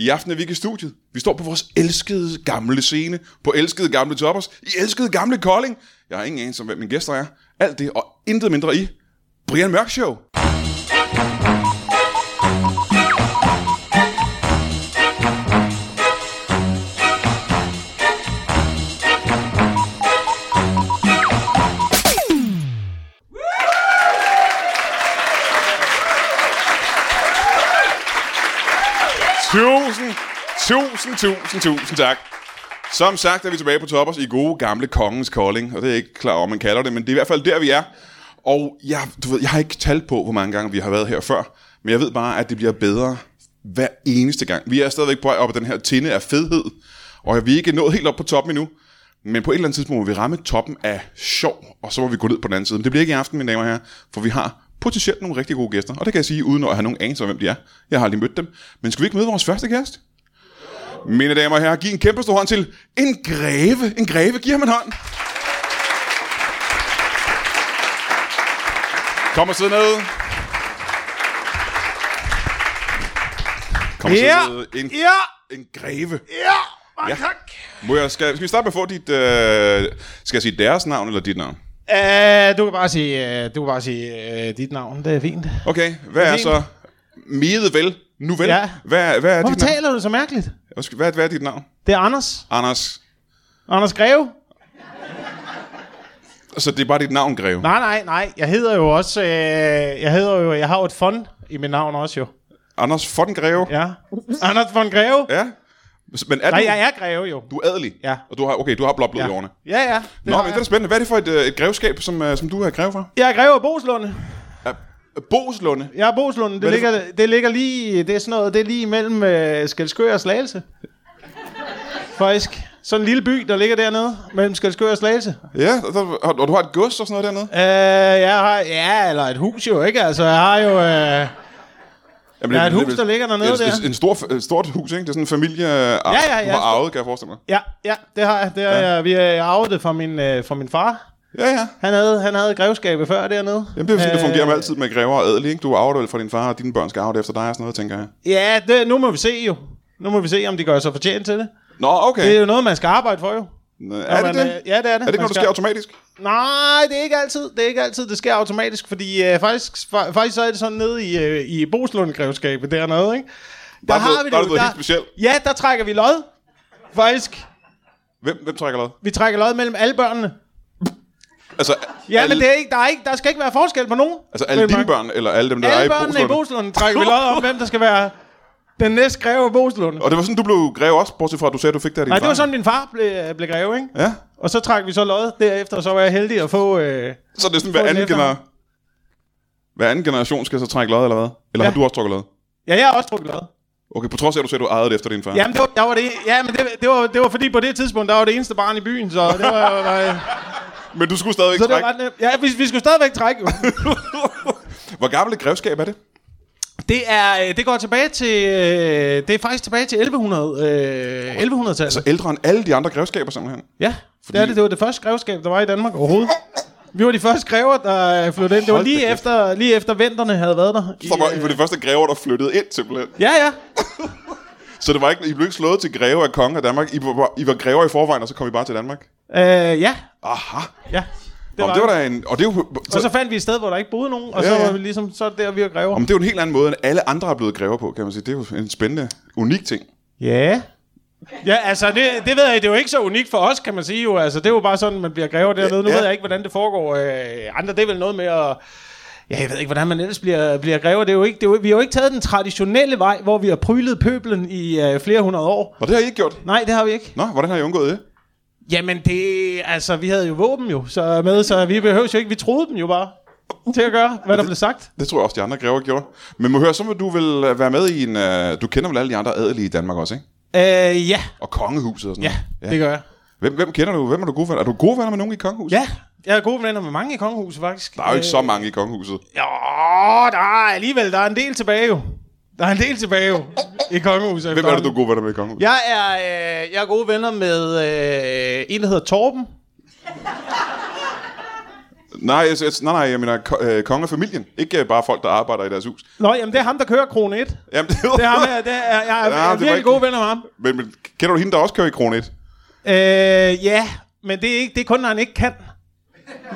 I aften er vi ikke i studiet. Vi står på vores elskede gamle scene, på elskede gamle toppers, i elskede gamle Kolding. Jeg har ingen anelse om, hvem mine gæster er. Alt det og intet mindre i Brian Mørk Show. Tusind, tusind, tusind, tusind tak. Som sagt er vi tilbage på Toppers i gode gamle Kongens Kolding, og det er jeg ikke klar over, man kalder det, men det er i hvert fald der, vi er. Og jeg, du ved, jeg har ikke talt på, hvor mange gange vi har været her før, men jeg ved bare, at det bliver bedre hver eneste gang. Vi er stadigvæk på vej op ad den her tinde af fedhed, og vi er ikke nået helt op på toppen endnu, men på et eller andet tidspunkt må vi ramme toppen af sjov, og så må vi gå ned på den anden side. Men det bliver ikke i aften, mine damer og herrer, for vi har potentielt nogle rigtig gode gæster. Og det kan jeg sige, uden at have nogen anelse om, hvem de er. Jeg har lige mødt dem. Men skal vi ikke møde vores første gæst? Mine damer og herrer, giv en kæmpe stor hånd til en greve. En greve, giv ham en hånd. Kom og sid ned. Kom og sid Ja. ned. En, Ja! en greve. Ja! Ja. Mange ja. tak! Må jeg, skal, skal vi starte med at få dit... Øh, skal jeg sige deres navn eller dit navn? Uh, du kan bare sige, uh, du kan bare sige uh, dit navn, det er fint. Okay, hvad er Min. så... Mede vel, nu vel. Ja. Hvad, hvad, er Hvorfor dit navn? taler du så mærkeligt? Undskyld, Hvad, hvad er dit navn? Det er Anders. Anders. Anders Greve. Så det er bare dit navn, Greve? Nej, nej, nej. Jeg hedder jo også, uh, jeg hedder jo, jeg har jo et fond i mit navn også jo. Anders von Greve? Ja. Anders von Greve. ja. Men er Nej, du, jeg er Greve jo. du er adelig? Ja. Og du har, okay, du har blåt blod i ja. årene. ja, ja. Det Nå, har men det er jeg. da spændende. Hvad er det for et, øh, et grevskab, som, øh, som du er greve fra? jeg er Greve af Boslunde. Ja. Boslunde. Jeg er Boslunde. Det, Hvad er det ligger, det, ligger lige, det er sådan noget, det er lige mellem uh, Skelskør og Slagelse. Faktisk. Sådan en lille by, der ligger dernede, mellem Skelskør og Slagelse. Ja, og, der- og, og du har et gods og sådan noget dernede? Øh, jeg har, ja, eller et hus jo, ikke? Altså, jeg har jo... Øh, Jamen, Ja, det- et det- hus, der ligger dernede det, er- der. En, en stor, et stort hus, ikke? Det er sådan en familie, ja, ja, ja, du har stor- arvet, kan jeg forestille mig. ja, ja, det har jeg. Det har ja. jeg. Vi har arvet det fra min, øh, fra min far. Ja, ja. Han havde, han havde grevskabet før dernede. Jamen, det er sådan, det Øh, fungerer med altid med grever og adelige, ikke? Du arver det vel fra din far, og dine børn skal arve det efter dig og sådan noget, tænker jeg. Ja, det, nu må vi se jo. Nu må vi se, om de gør sig fortjent til det. Nå, okay. Det er jo noget, man skal arbejde for jo. Nå, er det man, det? øh, ja, det er det. Er det ikke Man noget, der skal- sker automatisk? Nej, det er ikke altid. Det er ikke altid, det sker automatisk, fordi øh, faktisk, fa- faktisk så er det sådan nede i, øh, i Boslund-grevskabet dernede, ikke? Der, er noget- der er jo. noget helt specielt. Ja, der trækker vi lod. Faktisk. Hvem, hvem trækker lod? Vi trækker lod mellem alle børnene. Altså, Ja, alle, men det er ikke, der, er ikke, der skal ikke være forskel på nogen. altså alle Mellem dine børn, eller alle dem, der er Alle i børnene i Boslunde? Boslund trækker vi lod om, hvem der skal være den næste greve af Boslund. Og det var sådan, du blev greve også, bortset fra, at du sagde, at du fik det af din Nej, det far. var sådan, min far blev, øh, blev greve, ikke? Ja, Og så trak vi så lod derefter, og så var jeg heldig at få... Øh... så det er sådan, Få hver den anden, efter gener... hver anden generation skal så trække lod, eller hvad? Eller Ja. har du også trukket lod? Ja, jeg har også trukket lod. Okay, på trods af, at du sagde, at du ejede det efter din far. Jamen, det var, der var det, ja, men det, det, var, det var fordi, på det tidspunkt, der var det eneste barn i byen, så det var, var, var Men du skulle stadigvæk så det trække. var ret nemt. Ja, vi, vi skulle stadigvæk trække, jo. Hvor gammel et grevskab er det? Det, er, øh, det går tilbage til... øh, Det er faktisk tilbage til 1100, øh, 1100-tallet. Så Altså ældre end alle de andre grevskaber simpelthen. Ja, det er det. Det var det første grevskab, der var i Danmark overhovedet. Vi var de første grever, der øh, flyttede ind. Det var Hold da lige kæft. efter, lige efter venterne havde været der. I, Så var I øh, var de første grever, der flyttede ind simpelthen. Ja, ja. Så det var ikke, I blev ikke slået til greve af konge af Danmark. I var, I var grever i forvejen, og så kom I bare til Danmark. Øh, ja, Aha. ja. Det var, det var da en... Og det er jo, Og så fandt vi et sted, hvor der ikke boede nogen, og Ja, så ja. var vi ligesom, så er det der, vi er grever. Om det er jo en helt anden måde, end alle andre er blevet grever på, kan man sige. Det er jo en spændende, unik ting. Ja. Ja, altså, det, det ved jeg, det er jo ikke så unikt for os, kan man sige jo. Altså, det er jo bare sådan, man bliver grever dernede. Nu Ja. ved jeg ikke, hvordan det foregår. Øh, andre, det er vel noget med at... Ja, jeg ved ikke, hvordan man ellers bliver, bliver grever. Det er jo ikke, det er jo, vi har jo ikke taget den traditionelle vej, hvor vi har prylet pøblen i øh, flere hundrede år. Og det har I ikke gjort. Nej, det har vi ikke. Nå, hvordan har I undgået det? Jamen, det... Altså, vi havde jo våben jo så med, så vi behøvede jo ikke... Vi troede dem jo bare. til at gøre, hvad der blev sagt. Det tror jeg også, de andre grever gjorde. Men må høre, så må du vel være med i en... øh, Du kender vel alle de andre adelige i Danmark også, ikke? Øh, ja. Og kongehuset og sådan ja, ja, det gør jeg. Hvem, hvem kender du? Hvem er du gode venner? Er du gode venner med nogen i kongehuset? Ja, Øh, jeg er gode venner med mange i kongehuset, faktisk. Der er jo ikke så mange i kongehuset. Jo, der er alligevel, der er en del tilbage jo. Der er en del tilbage jo i kongehuset. Hvem er det, du er gode venner med i kongehuset? Jeg er, øh, jeg er gode venner med øh, en, der hedder Torben. Nej, jeg, jeg, nej, nej, jeg mener ko- øh, kongefamilien. Ikke øh, bare folk, der arbejder i deres hus. Nå, jamen det er ham, der kører krone 1. Det Jamen, det, er ham, jeg, det er, jeg er, Ja, jeg er det var virkelig ikke- gode venner med ham. men, men kender du hende, der også kører i Krone 1? Øh, ja, men det er, ikke, det er kun, når han ikke kan.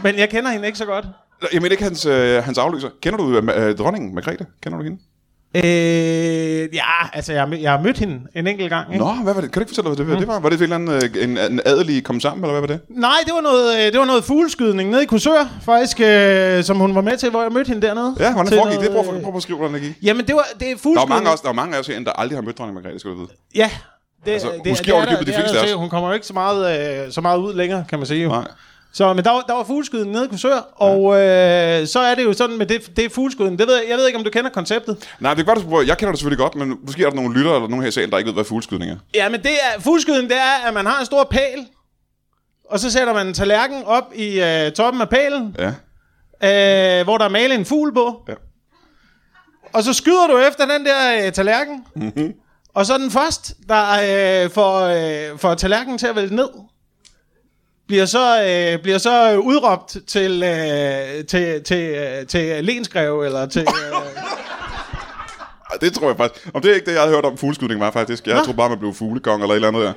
Men jeg kender hende ikke så godt. Nå, Jeg mener ikke hans, øh, hans afløser. Kender du øh, ma- øh, dronningen, Margrethe? Kender du hende? Øh, ja, altså jeg, har mød- jeg har mødt hende en enkelt gang. Ikke? Nå, hvad var det? Kan du ikke fortælle, hvad det, hvad det var? Var det en, eller anden, øh, en, en adelig kom sammen, eller hvad var det? Nej, det var noget, øh, det var noget fugleskydning nede i Kursør, faktisk, øh, som hun var med til, hvor jeg mødte hende dernede. Ja, hvordan Til foregik det? noget, Prøv, øh, at- prøv at skrive, hvordan det gik. Jamen, det var det er Der fugleskydning. er mange også, der er mange af os herinde, der aldrig har mødt dronning Margrethe, skal du vide. Ja. Det, Altså, det, måske det, er ovenikøbet de der- det er fleste der af os. til. Hun kommer jo ikke så meget, øh, så meget ud længere, kan man sige. Jo. Nej. Så, men der, var- der var fugleskydning nede i Kursør, og øh, så er det jo sådan med det, det fugleskydning. Det ved jeg, jeg ved ikke, om du kender konceptet. Nej, det er godt, at du prøver. Jeg kender det selvfølgelig godt, men måske er der nogle lyttere eller nogen her i salen, der ikke ved, hvad fugleskydning er. Ja, men det er, fugleskydning, det er, at man har en stor pæl, og så sætter man en tallerken op i øh, toppen af pælen, Ja. øh, hvor der er malet en fugl på. Ja. Og så skyder du efter den der øh, tallerken, mm-hmm. og så den først, der øh, får, øh, får tallerkenen til at vælte ned, bliver så, øh, bliver så øh, udråbt til, øh, til, til, øh, til lensgreve, eller til... Øh, Ej, det tror jeg faktisk. Om det er ikke det, jeg havde hørt om fugleskydning var faktisk. Jeg tror bare, man blev fuglekong eller et eller andet der.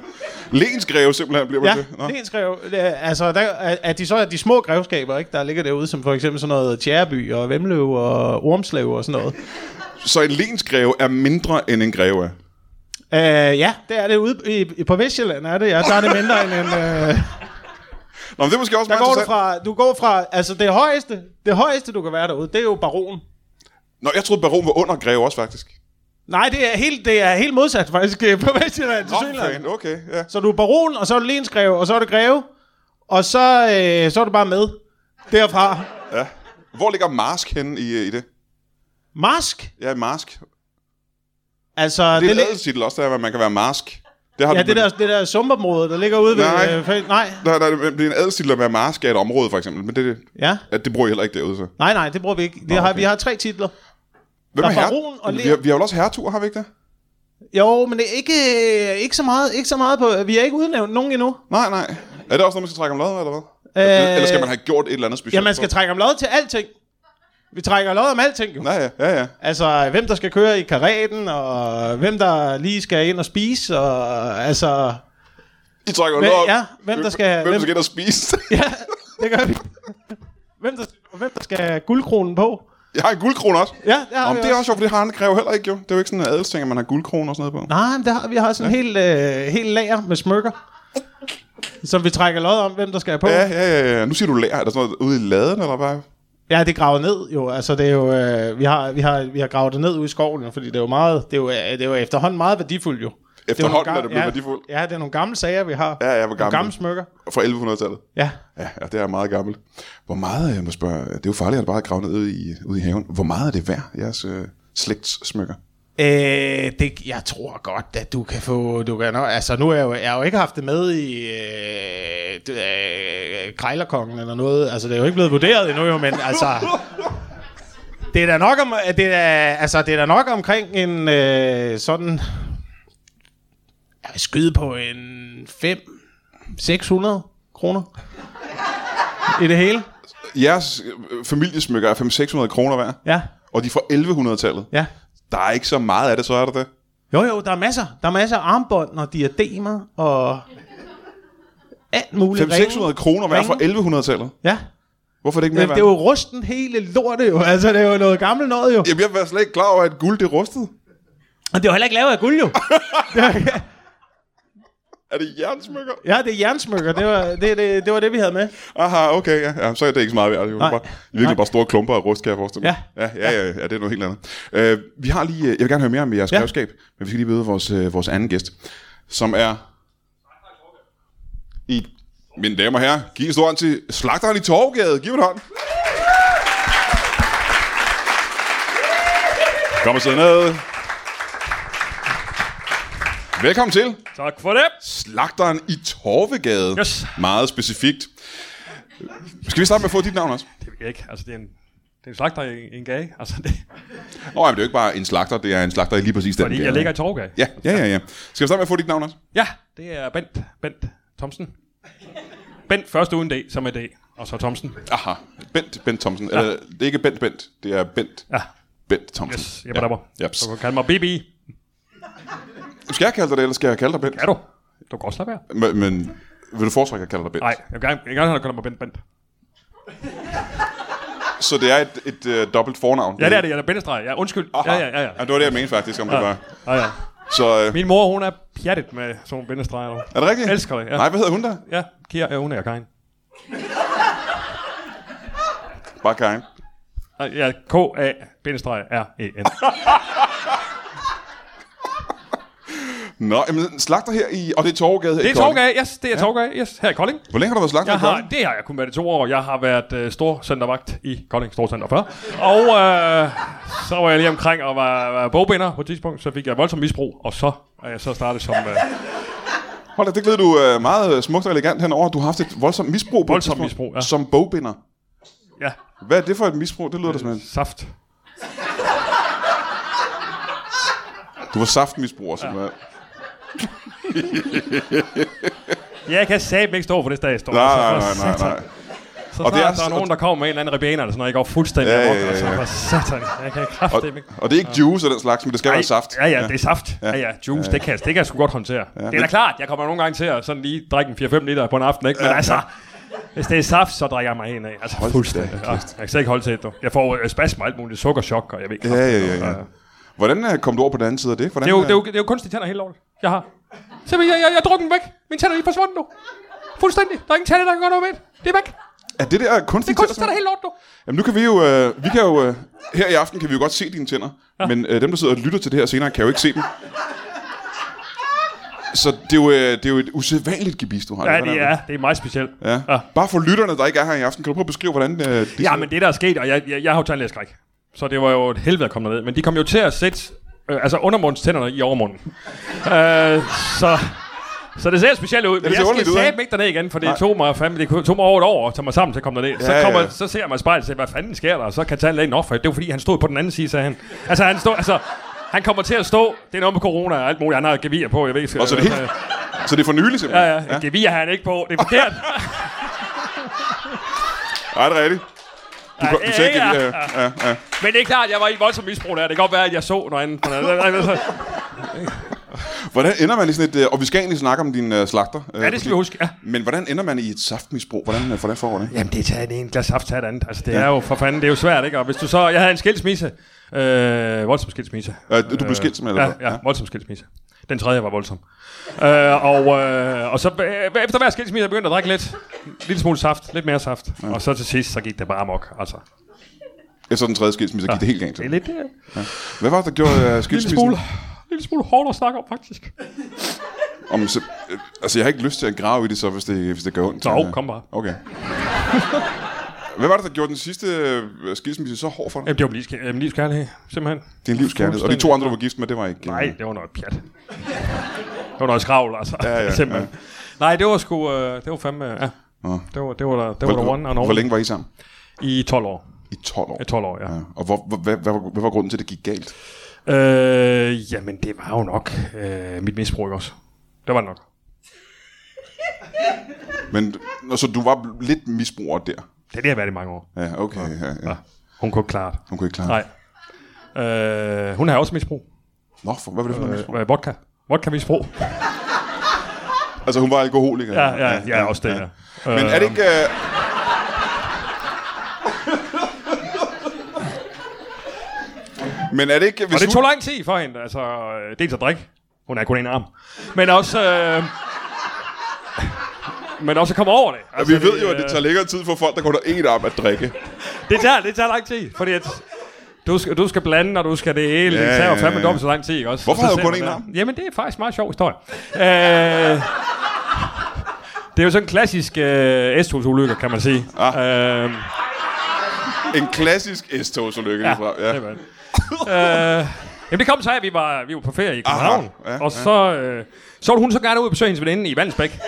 Lensgreve simpelthen bliver man ja, det. Nå. lensgreve. Øh, altså, der, er, er de så er de små grevskaber, ikke, der ligger derude, som for eksempel sådan noget Tjæreby og Vemløv og Ormslev og sådan noget. Så en lensgreve er mindre end en greve er. Øh, ja, det er det ude i, i, på Vestjylland, er det. Ja, der er det mindre end en... Øh, Nå, men det er måske også meget der går du interessant. fra, du går fra, altså det højeste, det højeste du kan være derude, det er jo baron. Nå, jeg troede, baron var under greve også, faktisk. Nej, det er helt, det er helt modsat faktisk øh, på Vestjylland til Nå, Sydland. fan, okay, ja. Så du er baron, og så er du lensgreve, og så er du greve, og så, øh, så er du bare med derfra. Hvor ligger Marsk henne i, i det? Mask, Ja, Marsk. altså Det er det, en det, adelstitel også, der, at man kan være Marsk. Det har ja, du, det der, det der sumpområde, der ligger ude Nej. ved... Øh, fæ- nej, Nej, nej, men det er en adelstitel at være Marsk af et område, for eksempel. Men det, det, ja. ja, det bruger jeg heller ikke derude, så. Nej, nej, det bruger vi ikke. Det har, okay. vi har tre titler. Hvem Der er er her? baron og vi, le- har, vi har vel også herretur, har vi ikke det? Jo, men det er ikke, øh, ikke, så meget, ikke så meget på... Vi er ikke udnævnt nogen endnu. Nej, nej. Er det også noget, man skal trække om lod, eller hvad? Øh, Eller skal man have gjort et eller andet specielt? Ja, man skal trække om lod til alting. Vi trækker lod om alting, jo. Nej, ja, ja, ja. Altså, hvem der skal køre i karaten, og hvem der lige skal ind og spise, og altså... I trækker Hvem- lod. op. ja, hvem der skal- Hvem, der hvem- skal ind og spise? Ja, det gør vi. Hvem der, og hvem der skal have guldkronen på. jeg har en guldkrone også. Ja, det har Om vi det er også sjovt, for det har han kræver heller ikke, jo. Det er jo ikke sådan en adelsting, at man har guldkrone og sådan noget på. Nej, men det har, vi har sådan en hel, øh, hel lager med smykker, som vi trækker lod om, hvem der skal have på. Ja, Ja, ja, ja, ja. Nu siger du lærer. Er der sådan noget ude i laden, eller hvad? ja det graver ned jo. Altså, det er jo, øh, vi, har, vi, har, vi har gravet det ned ude i skoven, fordi det er jo, meget, det er jo, øh, det er jo efterhånden meget værdifuldt jo. Det jo nogle Efterhånden er gam- det blevet ja, værdifuldt. Ja, det er nogle gamle sager, vi har. Ja, ja, hvor Nogle gamle. gamle smykker. Fra 1100-tallet. Ja. Ja, ja, det er meget gammelt. Hvor meget, jeg må spørge, det er jo farligt at bare grave ned ude i, ude i haven. Hvor meget er det værd, jeres øh, slægts smykker? Øh, det, jeg tror godt, at du kan få... Du kan, nå, altså, nu har jeg, jo, jeg har jo ikke haft det med i øh, det, øh, Krejlerkongen eller noget. Altså, det er jo ikke blevet vurderet endnu, jo, men altså... Det er da nok, om, det er, da- altså, det er da nok omkring en øh, sådan... Jeg vil skyde på en 5-600 kroner. I det hele. Jeres øh, familiesmykker er 500-600 kroner værd, Ja, og de er fra 1100-tallet. ja. Der er ikke så meget af det, så er der det. Jo, jo, der er masser. Der er masser af armbånd og diademer og alt muligt. Ringe. 500-600 kroner værd fra 1100-tallet. Ja. Hvorfor er det ikke mere Jamen, værd? det er jo rusten hele lortet jo. Altså, det er jo noget gammelt noget jo. Jamen, jeg var slet ikke klar over, at guld det rustede. Og det er jo heller ikke lavet af guld jo. Er det jernsmykker? ja, det er jernsmykker. Det var det, det, det, var det vi havde med. Aha, okay, ja. ja så er det ikke så meget værd. Det er jo Nej. bare, virkelig bare store klumper af rust, kan jeg forestille mig. Ja. Ja, ja, ja, ja det er noget helt andet. Øh, vi har lige, jeg vil gerne høre mere om jeres ja. Ja. grevskab, men vi skal lige møde vores, øh, vores anden gæst, som er i... Mine damer og herrer, giv en stor hånd til Slagteren i Torvgade. Giv en hånd. Kom og sidde ned. Velkommen til Tak for det. Slagteren i Torvegade. Yes. Meget specifikt. Skal vi starte med at få dit navn også? Det vil jeg ikke. Altså, det er en, det er en slagter i en gage. Altså, det, Nå, jamen, det er jo ikke bare en slagter, det er en slagter i lige præcis den fordi gade. jeg ligger i Torvgade. Ja, ja, ja, ja. Skal vi starte med at få dit navn også? ja, det er Bent, Bent Thomsen. Bent først uden D, som er D, og så Thomsen. Aha. Bent, Bent Thomsen. Ja. Eller, det er ikke Bent Bent, det er Bent, Ja, Bent Thomsen. yes, jeg ja. ja. Så kan du kalde mig BB. Skal jeg kalde dig det, eller skal jeg kalde dig Bent? Er du? Du kan godt slappe af. Men, men vil du foretrække at kalde dig Bent? Nej, jeg vil gerne, jeg vil gerne have, at du kalder mig Bent Bent. Så det er et, et øh, dobbelt fornavn? Ja, det er det. Jeg er Bendestreg. Ja, undskyld. Aha. Ja, ja, ja. ja. ja. Det var det, jeg mente faktisk, om ja. det var. ja, ja. Så øh, Min mor, hun er pjattet med sådan nogle bindestreger. nu. er det rigtigt? Elsker det, ja. Nej, hvad hedder hun der? Ja, Kira, ja, hun er Karin. Bare Karin. Nej, Ja, K-A-R-E-N. Nå, jamen, slagter her i... Og det er Torvegade her Det i er Kolding. Torgade, yes, det er ja. Torgade, yes, her i Kolding. Hvor længe har du været slagter i Jeg Kolding? har, det har jeg kun været i to år. Jeg har været øh, storcentervagt i Kolding Storcenter før. Og øh, så var jeg lige omkring og var, var bogbinder på et tidspunkt. Så fik jeg voldsom misbrug, og så er jeg så startet som øh, Hold da, det glæder du øh, meget øh, smukt og elegant henover. Du har haft et voldsomt misbrug på et Voldsomt tidspunkt misbrug, ja. Som bogbinder. ja, Hvad er det for et misbrug? Det lyder da simpelthen. saft. Du var saftmisbruger, som ja. Jeg kan satme ikke stå for det, der jeg står. Nej, nej, Altså, for nej, nej, satan. nej. Så Og og det det er er, der er så- nogen, der kommer med en eller anden ribena, eller sådan noget, jeg går fuldstændig Ja, ja, ja, amok, ja, altså, ja. for satan, jeg kan Og, kraftedeme ikke og det er ikke juice og den slags, men det skal være saft. Ja, ja, det er saft. Ja, ja, juice, ja. Det, kan, jeg- det kan jeg sgu godt håndtere. Ja. Det er da klart, jeg kommer nogle gange til at sådan lige drikke en 4-5 liter på en aften, ikke? Men ja. altså, hvis det er saft, så drikker jeg mig en af. Altså, Hold da fuldstændig. kæft. Ja, jeg kan slet ikke holde til det, du. Jeg får øh, spasmer og alt muligt, sukkerchok, og jeg ved ikke. altså, Ja, ja, ja, ja. Hvordan øh, kom du over på den anden side af det? Hvordan, Det er jo, det er jo, øh, det er jo kunstige tænder helt lovligt, jeg har. Se, jeg, jeg, jeg har drukket dem væk. Mine tænder er lige forsvundet nu. Fuldstændig. Der er ingen tænder, der kan gøre noget ved det. Det er væk. er det der kunstigt? Kunstige tænder er helt lort nu. Jamen nu kan vi jo, øh, vi kan jo øh, her i aften kan vi jo godt se dine tænder, ja. men øh, dem der sidder og lytter til det her senere kan jo ikke se dem. Så det er jo, øh, det er jo et usædvanligt gebis, du har. Ja, Hvordan det er, det er meget specielt. Ja. ja. Bare for lytterne, der ikke er her i aften, kan du prøve at beskrive, hvordan øh, de Ja, men det der er sket, og jeg, jeg, jeg har jo tandlægeskræk. Så det var jo et helvede at komme derned. Men de kom jo til at sætte øh, altså undermundstænderne i overmunden. øh, så, så det ser specielt ud. Men ser jeg skal underligt ud, sætte ikke? mig ikke derned igen, for det tog mig, fandme, det tog mig over et år at tage mig sammen til at komme derned. Ja, Ja, så, kommer, ja. ja. så ser jeg mig i spejlet og siger, hvad fanden sker der? Og så kan tandlægen nok for det var fordi, han stod på den anden side, sagde han. Altså, han stod, altså, han kommer til at stå. Det er noget med corona og alt muligt. Han har gevier på, jeg ved ikke. Og så er det helt... Så det er for nylig simpelthen? Ja, ja. ja. Gevier har han ikke på. Det er forkert. Ej, det er rigtigt. Du, ja, du sagde ikke... ja, Ja, ja, ja. Men det er klart, jeg var i voldsom misbrug der. Det kan godt være, at jeg så noget andet. Hvordan ender man i sådan et... øh, Og vi skal egentlig snakke om din øh, slagter. øh, Ja, det skal vi huske. Ja. Men hvordan ender man i et saftmisbrug? Hvordan, øh, hvordan foregår det? Jamen, det er taget en glas saft, taget andet. Altså, det ja. er jo for fanden, det er jo svært, ikke? Og hvis du så... Jeg havde en skilsmisse. Øh, voldsom skilsmisse. Øh, du blev skilt simpelthen, Ja, eller hvad? ja, Ja. voldsom skilsmisse. Den tredje var voldsom. Øh, og, øh, og så øh, efter hver skilsmisse, jeg begyndte at drikke lidt. En lille smule saft, lidt mere saft. Ja. Og så til sidst, så gik det bare amok. Altså, Efter den tredje skilsmisse gik det helt galt. det er lidt... Øh, Hvad var det, der gjorde øh, lille skilsmissen? smule, lille smule hårdt at snakke om, faktisk. Om, så, øh, altså, jeg har ikke lyst til at grave i det så, hvis det, hvis det gør ondt. Så, Men, øh, kom bare. Okay. Hvad var det, der gjorde den sidste øh, skilsmisse så hård for dig? Jamen, det var livs, øh, livskærlighed, simpelthen. Det er en livskærlighed. Og de to andre, du var gift med, det var ikke... øh, Nej, det var noget pjat. Det var noget skravl, altså. Ja, ja, Simpelthen. Nej, det var sgu... Øh, det var fandme... Ja. Nå. Det var, det var der, det var der Hvor, one and hvor all. længe var I sammen? I 12 år. I 12 år. I 12 år, ja. Ja. Og hvor, hvor, hvad, hvad, var- hvad var grunden til, at det gik galt? Øh, jamen, det var jo nok øh, mit misbrug også. Det var det nok. Men, og så du var lidt misbruger der? Det er det, jeg har været i mange år. Ja, okay. Ja, ja. Ja. Hun kunne ikke klare det. Hun kunne ikke klare det. Nej. Øh, hun har også misbrug. Nå, for, hvad var det for noget misbrug? Øh, vodka. Vodka-misbrug. Altså, hun var alkoholiker? Ja, ja, ja, ja, også det, ja. Men er det ikke... Øh, Men er det ikke... Hvis Og det hun... tog lang tid for hende, altså øh, dels at drikke, hun er kun en arm, men også, øh, men også at komme over det. Ja, Altså, vi ved jo, at det øh, tager længere tid for folk, der går der en op at drikke. det tager, det tager lang tid, fordi at du skal, du skal blande, og du skal det hele. Ja, det tager ja, jo ja, fandme ja. dobbelt så lang tid, ikke også? Hvorfor Og så havde hun ser kun man én der- Jamen, det er faktisk en meget sjov historie. Øh, det er jo sådan en klassisk øh, S-togsulykke, kan man sige. Ah. Øh, En klassisk S-togsulykke. ja, Ja. ja. ja. Det var det. øh, jamen det kom så af, at vi var, vi var på ferie i København. Aha, ja, og så, øh, så ville hun så gerne ud og besøge hendes veninde i Vandsbæk.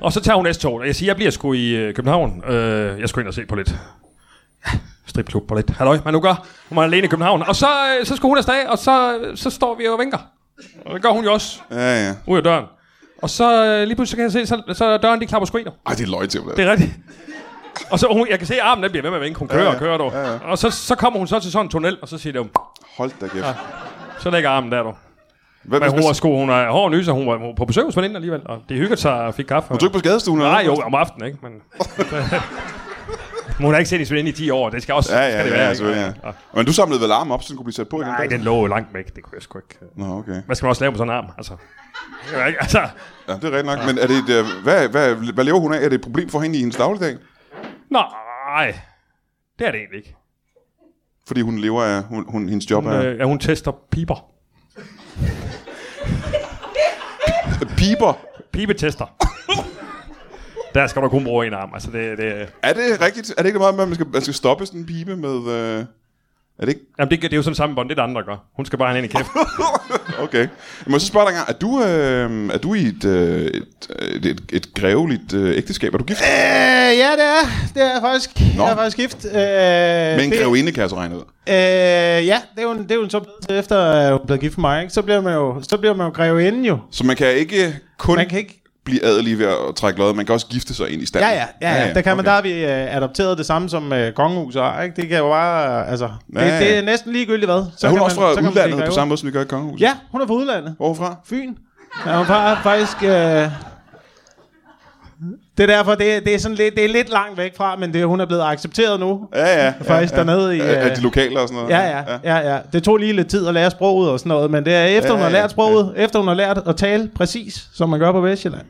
Og så tager hun S-toget, og jeg siger, jeg bliver sgu i øh, København. Øh, jeg skulle ind og se på lidt stripklub på lidt. Halløj, man nu gør. Hun er alene i København. Og så, øh, så skal hun afsted, og så, så står vi og vinker. Og det gør hun jo også, Ja, ja. ud af døren. Og så øh, lige pludselig så kan jeg se, så, så er døren, de klapper sgu i nu. Ej, det er løg til, det. Det er rigtigt. Og så hun, jeg kan se, at armen den bliver ved med at vinke. Hun kører Ja, ja, ja. og kører dog. Ja, ja. Og så, så kommer hun så til sådan en tunnel, og så siger det jo, Hold da kæft. så ligger armen der dog. Hvad, Men hvis, hun var hvis, sgu, hun er hård nyser, hun var hun var på besøg hos veninden alligevel, og det hyggede sig og fik kaffe. du er ikke på skadestuen? eller Nej, noget? jo, om aftenen, ikke? Men... Men hun har ikke set hendes veninde i 10 år, det skal også Ja, skal ja, ja, det være, ja, ikke? selvfølgelig, ja. Men du samlede vel armen op, så den kunne blive sat på igen? Nej, den lå jo langt væk, det kunne jeg sgu ikke. Nå, okay. Hvad skal man også lave med sådan en arm, altså? Det var ikke, altså... Ja, det er rigtigt nok. Men er det et, øh, hvad, hvad, hvad lever hun af? Er det et problem for hende i hendes dagligdag? Nej, det er det egentlig ikke. Fordi hun lever af, hun, hun, hendes job Hun, er... øh, ja, hun tester piber. øh, Piber! Pibetester. Der skal du kun bruge en arm, altså det... det Er det rigtigt? Er det ikke meget med, at man skal, man skal stoppe sådan en pibe med... Øh... Er det ikke? jamen, det, det er jo sådan samme bånd, det er der andre, der gør. Hun skal bare have en ind i kæften. Okay. Jeg må så spørge dig en gang, er du, øh, er du i et, øh, et, et, et, et greveligt øh, ægteskab? Er du gift? Øh, ja, det er. Det er jeg faktisk. Nå. Nå. Jeg er faktisk gift. Øh, Med en det- grevinde, kan jeg så regne ud. Øh, ja, det er jo, en- det er jo en så blevet til efter at hun er blevet gift med mig, ikke? Så bliver man jo, så bliver man jo grevinde jo. Så man kan ikke kun Man kan ikke... blive adelig ved at trække løjet. Man kan også gifte sig ind i Ja, standen. ja, ja, ja. Der, kan man, der har vi øh, adopteret det samme som øh, kongehus har, ikke? Det kan jo bare, øh, altså... Det, Ja, ja. det er næsten ligegyldigt hvad. Så er hun kan også man- fra så kan man blive udlandet på greve. samme måde, som vi gør i kongehuset? Ja, hun er fra udlandet. Hvorfra? Fyn. Ja, hun far faktisk... Øh, det er derfor, det, det, er sådan lidt, det er lidt langt væk fra, men det, hun er blevet accepteret nu. Ja, ja. Faktisk ja, ja. dernede i, Øh, er øh, de lokale og sådan noget? Ja, ja, ja, ja. Det tog lige lidt tid at lære sproget og sådan noget, men det er efter Ja, hun har ja, lært sproget, efter hun har lært at tale præcis, som man gør på Vestjylland,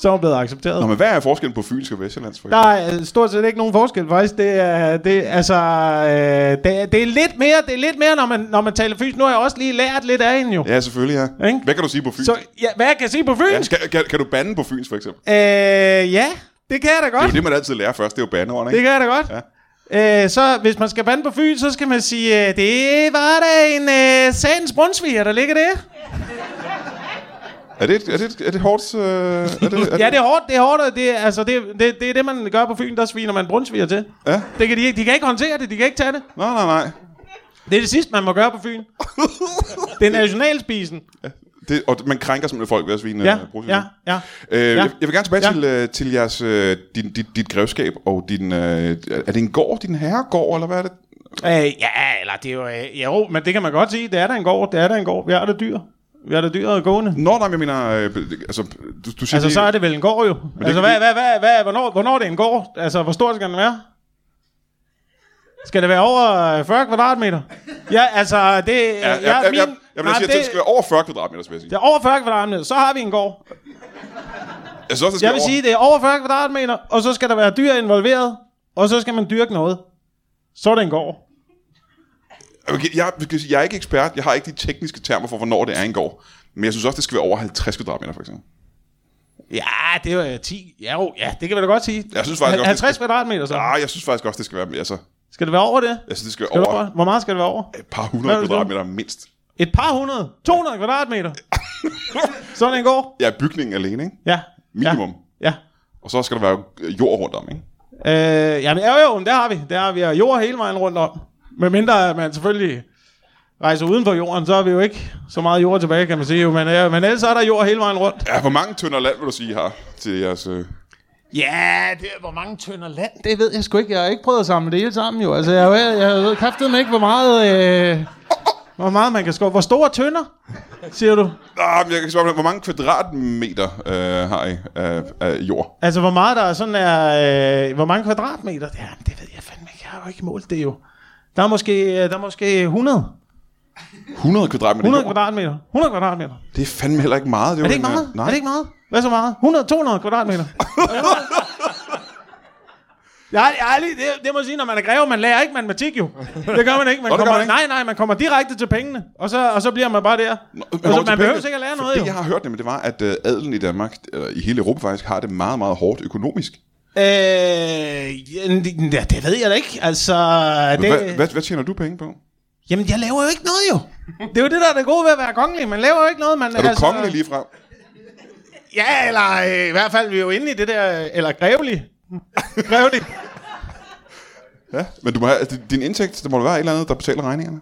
så er hun blevet accepteret. Nå, men hvad er forskellen på fynsk og vestjyllands? For Der er øh, stort set ikke nogen forskel, faktisk. Det er, det, altså, øh, det, er- det er lidt mere, det er lidt mere, når man, når man taler fynsk. Nu har jeg også lige lært lidt af hende jo. Ja, selvfølgelig, ja. Ikke? Hvad kan du sige på fynsk? Så ja, hvad jeg kan sige på ja, fynsk? skal, kan, kan, du bande på fynsk, for eksempel? Øh, ja, det kan jeg da Det er godt. jo det, man altid lærer først. Det er jo bandeordene, Det ikke? kan jeg da godt. Ja. Øh, så hvis man skal bande på Fyn, så skal man sige, øh, det var da en øh, sagens brunsviger, der ligger der. Er det, et- er det, et- er det hårdt? Øh, er det, er det, Ja, det er hårdt, det er hårdt, og det, er- altså, det, er- det, det er det, man gør på Fyn, der sviner man brunsviger til. Ja. Det kan de, ikke, de kan ikke håndtere det, de kan ikke tage det. Nej, nej, nej. Det er det sidste, man må gøre på Fyn. det er nationalspisen. Det, og man krænker simpelthen folk ved at svine. Ja, øh, bruge sin ja, viden. ja. Øh, Ja. jeg, jeg vil gerne tilbage Ja. til, øh, til jeres, øh, din, dit, dit grevskab og din... Øh, er det en gård, din herregård, eller hvad er det? Øh, ja, eller det er jo... Øh, jo, men det kan man godt sige. Det er der en gård, det er der en gård. Vi har der dyr. Vi har der dyr og gående. Nå, nej, men jeg mener... Øh, altså, du, du siger Altså, lige- så er det vel en gård jo. Altså, kan hvad, vi- hvad, hvad, hvad, hvornår, hvornår er det en gård? Altså, hvor stor skal den være? Skal det være over øh, 40 kvadratmeter? Ja, altså, det... Ja, Ja, ja, ja, ja, ja, men jeg nej, siger, at det skal være over 40 kvadratmeter, vil jeg sige. Det er over 40 kvadratmeter, så har vi en gård. Altså, Jeg synes også, det skal Jeg vil over... sige, det er over 40 kvadratmeter, og så skal der være dyr involveret, og så skal man dyrke noget. Så er det en gård. Okay, jeg, jeg, jeg er ikke ekspert, jeg har ikke de tekniske termer for, hvornår det er en gård. Men jeg synes også, det skal være over 50 kvadratmeter, for eksempel. Ja, det er jo 10. Ja, jo, ja, det kan vi da godt sige. Jeg synes faktisk også, det 50 skal- kvadratmeter så. Nej, jeg synes faktisk også, det skal være, altså, Skal det være over det? jeg synes, det skal være Skal det over over? Hvor meget skal det være over? et par hundrede Hvad vil du? kvadratmeter mindst. Et par hundrede? 200 kvadratmeter? Sådan en gård? Ja, bygningen alene, ikke? Ja. Minimum. Ja. Og så skal der være øh, jord rundt om, ikke? ja. Øh, jamen, jo, jo, men der har vi. Der har vi øh, jord hele vejen rundt om. Med mindre at man selvfølgelig rejser uden for jorden, så har vi jo ikke så meget jord tilbage, kan man sige. jo. Men, øh, men ellers er der jord hele vejen rundt. Ja, hvor mange tønder land vil du sige her til jeres... Øh... Ja, det, hvor mange tønder land, det ved jeg sgu ikke. Jeg har ikke prøvet at samle det hele sammen, jo. Altså, jeg, jeg, jeg ved kraftedeme ikke, hvor meget, øh, hvor meget man kan skåre. Hvor store tønder, siger du? Ah, men jeg kan spørge, hvor mange kvadratmeter øh, har I af, af jord? Altså, hvor meget der er sådan er... Øh, hvor mange kvadratmeter? Ja, det ved jeg fandme ikke. Jeg har jo ikke målt det, jo. Der er måske, øh, der er måske 100. 100 kvadratmeter 100 jord? kvadratmeter. 100 kvadratmeter. Det er fandme heller ikke meget. Det Er jo det ikke en, øh, meget? Nej. Er det ikke meget? Hvad så meget? 100-200 kvadratmeter. Jeg har, jeg har lige, det, det må jeg sige, når man er greve, man lærer ikke matematik jo. Det gør man ikke. Man Nå, det gør kommer, man ikke. Nej, nej, man kommer direkte til pengene, og så, og så bliver man bare der. Nå, Men altså, over til man behøver pengene. sikkert lære For noget Det, jo. jeg har hørt nemlig, det var, at øh, adelen i Danmark, øh, i hele Europa faktisk, har det meget, meget hårdt økonomisk. Øh, ja, det ved jeg da ikke. Altså, Men det, hvad, hvad, hvad tjener du penge på? Jamen, jeg laver jo ikke noget jo. Det er jo det, der er det gode ved at være kongelig. Man laver jo ikke noget. Man, altså- Er du kongelig lige frem? Ja, eller øh, i hvert fald, vi er jo inde i det der... øh, Eller grævelig. grævelig. Ja, men du må have, altså, din indtægt, der må være et eller andet, der betaler regningerne.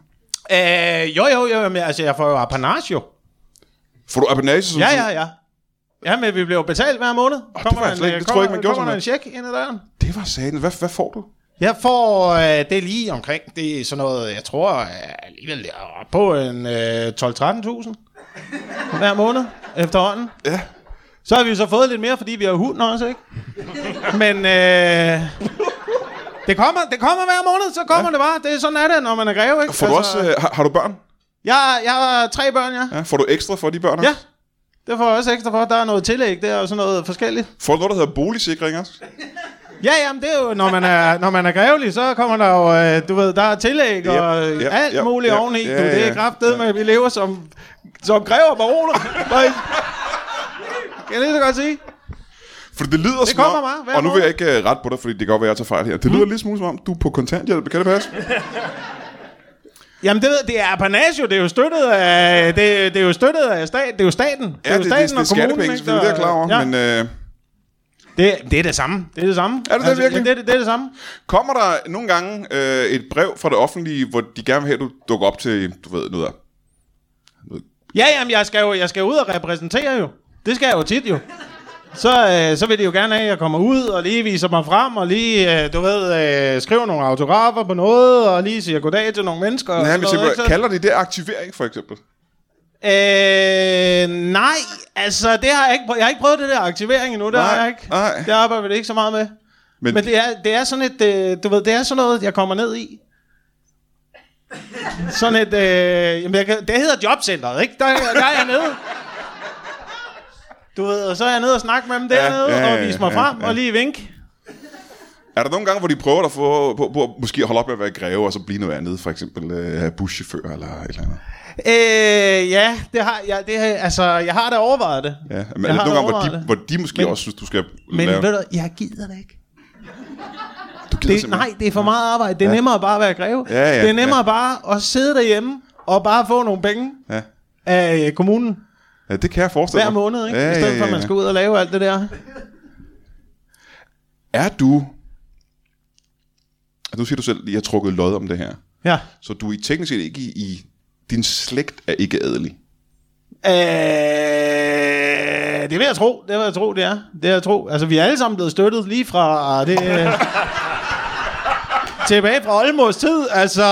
Øh, jo, jo, jo, jo, men altså, jeg får jo apanage jo. Får du apanage? som- Ja, ja, ja. Ja, men vi bliver jo betalt hver måned. Oh, var jeg slet ikke- det tror jeg ikke, man gjorde kommer der en sådan check ind ad døren? Det var sagen. Hvad, hvad får du? Jeg får øh, det er lige omkring, det er sådan noget, jeg tror øh, alligevel, jeg er oppe på en øh, 12-13.000 hver måned efterhånden. Ja. Så har vi jo så fået lidt mere, fordi vi har hunden også, ikke? Men øh, det, kommer, det kommer hver måned, så kommer ja. det bare. Det er sådan er det, når man er greve, ikke? Altså, Får du også, øh, har, har du børn? Jeg, jeg har tre børn, ja. Ja, får du ekstra for de børn også? Ja, det får jeg også ekstra for. Der er noget tillæg der og sådan noget forskelligt. Får du noget, der hedder boligsikring også? Ja, jamen det er jo, når man er, når man er grævelig, så kommer der jo, øh, du ved, der er tillæg yep, og Yep, yep, yep, alt yep, yep, muligt yep. yep, oveni. Ja, Ja, du, det ja, er kraftedeme, ja. vi lever som, som grever og baroner. Nej. kan jeg lige så godt sige? For det lyder det som kommer om, meget hver Hmm. og nu vil måned. jeg ikke uh, ret på dig, fordi det kan godt være, at jeg tager fejl her. Det lyder lidt smule som om, du er på kontanthjælp. Kan det passe? Jamen det, ved- det er apanage, jo. det er jo støttet af, det, det er jo støttet af stat, det er jo staten. Det Ja, er jo det, det, staten det, det er skattepenge, ikke? selvfølgelig, det er jeg klar over. Ja. Men øh, det, det er det samme. Det er det samme. Er det det virkelig? Det, det, det er det samme. kommer der nogle gange øh, et brev fra det offentlige, hvor de gerne vil have, at du dukker op til, du ved, noget af. Ja, jamen, jeg skal jo jeg skal ud og repræsentere jo. Det skal jeg jo tit jo. Så, øh, så vil de jo gerne have, at jeg kommer ud og lige viser mig frem, og lige, øh, du ved, øh, skriver nogle autografer på noget, og lige siger goddag til nogle mennesker. og Nej, sådan men jeg noget, tænker, kalder de det aktivering, for eksempel? ikke? Så- øh, nej, altså, det har jeg, ikke, prø- jeg har ikke prøvet det der aktivering endnu, det Nej, har jeg ikke. nej. Det arbejder vi ikke så meget med. Men, Men det er, det er sådan et, øh, du ved, det er sådan noget, jeg kommer ned i. Sådan et, øh, jamen jeg kan, det hedder jobcenteret, ikke? Der, der er jeg nede. Du ved, og så er jeg nede og snakke med dem dernede, ja, ja, ja, ja, og vise mig ja, frem, ja. og lige vink. er der nogle gange, hvor de prøver at få på, på, måske holde op med at være greve, og så blive noget andet, for eksempel øh, buschauffør eller et eller andet? Øh, ja, det har jeg, det har, altså, jeg har da overvejet det. Ja, men Jeg er det har nogle da gange, hvor de, overvejet det. hvor de måske Men- også synes, du skal Men lave... ved du, jeg gider det ikke. du gider Det, nej, det er for meget arbejde. Det er nemmere bare at være greve. Ja, ja, det er nemmere bare at sidde derhjemme og bare få nogle penge Ja. af øh, kommunen. ja, det kan jeg forestille hver mig. måned, ikke? Ja, I stedet for, at man skal ud og lave alt det der. Er du... Nu siger du selv, at I har trukket lod om det her. Ja. Så du er i- teknisk set ikke i, i... Din slægt er ikke adelig. Øh, det vil jeg tro. Det vil jeg tro, det er. Det vil jeg tro. Altså, vi er alle sammen blevet støttet lige fra det... Øh, tilbage fra Olmos tid, altså...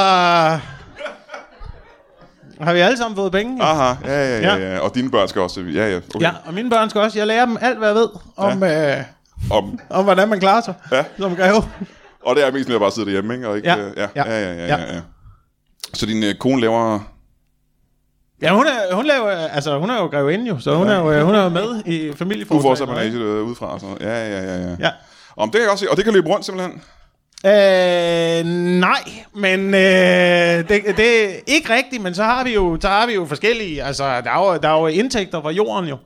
Har vi alle sammen fået penge? Ah. Aha, ja, ja, ja. ja. Og dine børn skal også... Ja, ja. Okay. Ja, og mine børn skal også. Jeg lærer dem alt, hvad jeg ved om, ja. øh, Om, om hvordan man klarer sig Ja. ja. som greve. og det er mest med at bare sidde derhjemme, ikke? Og ikke Ja. øh, ja. Ja, Ja. ja, ja, ja, ja. Så din øh, kone laver... Ja, hun er, hun, laver, altså, hun er jo grevinde jo, så hun, er, jo, øh, hun er jo med i Du får familieforslaget. også apanage øh, udefra og sådan noget. Ja, ja, ja, ja. Ja. Om det kan jeg også se. Og det kan løbe rundt simpelthen. Øh, nej, men øh, det, det er ikke rigtigt, men så har vi jo, så har vi jo forskellige, altså der er jo, der er jo indtægter fra jorden jo.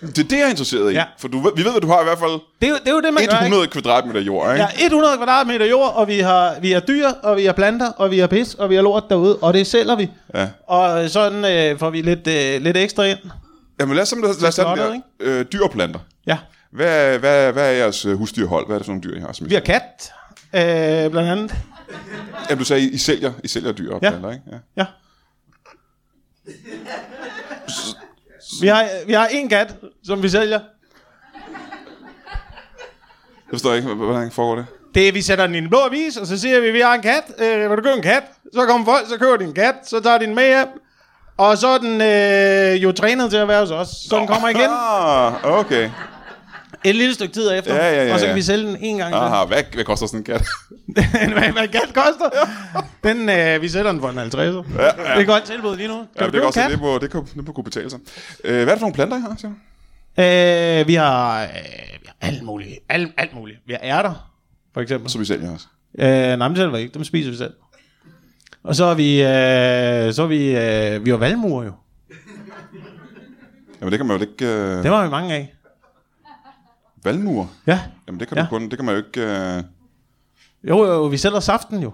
Det er det, jeg er interesseret i. Ja. For du, ved- vi ved, at du har i hvert fald Det er jo det, er jo det man gør, ikke? 100 kvadratmeter jord, ikke? Ja, 100 kvadratmeter jord, og vi har, vi har dyr, og vi har planter, og vi har pis, og vi har lort derude, og det sælger vi. Ja. Og sådan øh, får vi lidt, øh, lidt ekstra ind. Jamen lad os, simpelthen, lad os tage den der slottet, øh, dyr og planter. Ja, Hvad, hvad, hvad er jeres øh, husdyrhold? Hvad er det for nogle dyr, I har? Som I vi har kat, øh, blandt andet. Jamen, du sagde, I, I sælger, I sælger dyr og Ja. planter, ikke? Ja. Ja. Vi har, vi har en kat, som vi sælger. Jeg forstår ikke, h- hvordan foregår det? Det er, vi sætter den i en blå avis, og så siger vi, vi har en kat. Øh, vil du købe en kat? Så kommer folk, så køber de en kat, så tager de den med hjem. Og så er den øh, jo trænet til at være hos os. Så den kommer igen Ah, okay. et lille stykke tid efter. Ja, ja, ja, og så kan ja. vi sælge den en gang. til. Aha, hvad, hvad koster sådan en kat? Hvad hvad en kat koster? Den, øh, vi sælger den for en 50. Ja, ja. Det er et godt tilbud lige nu. Kan Ja, det du er købe en også kat? det, må, det, kunne, det må kunne betale sig. Øh, hvad er det for nogle planter, I har? Siger? du? Øh, vi har, øh, vi har alt muligt. Alt, alt muligt. Vi har ærter, for eksempel. Som I sælger også. Øh, nej, men selv var ikke. Dem spiser vi selv. Og så er vi, øh, så er vi, øh, vi var valmuer jo. Jamen, det kan man jo ikke... Øh, Det var vi mange af. valmuer. Ja. Jamen, det kan, Ja. du kun, det kan man jo ikke... Øh, Jo, jo, vi sælger saften jo.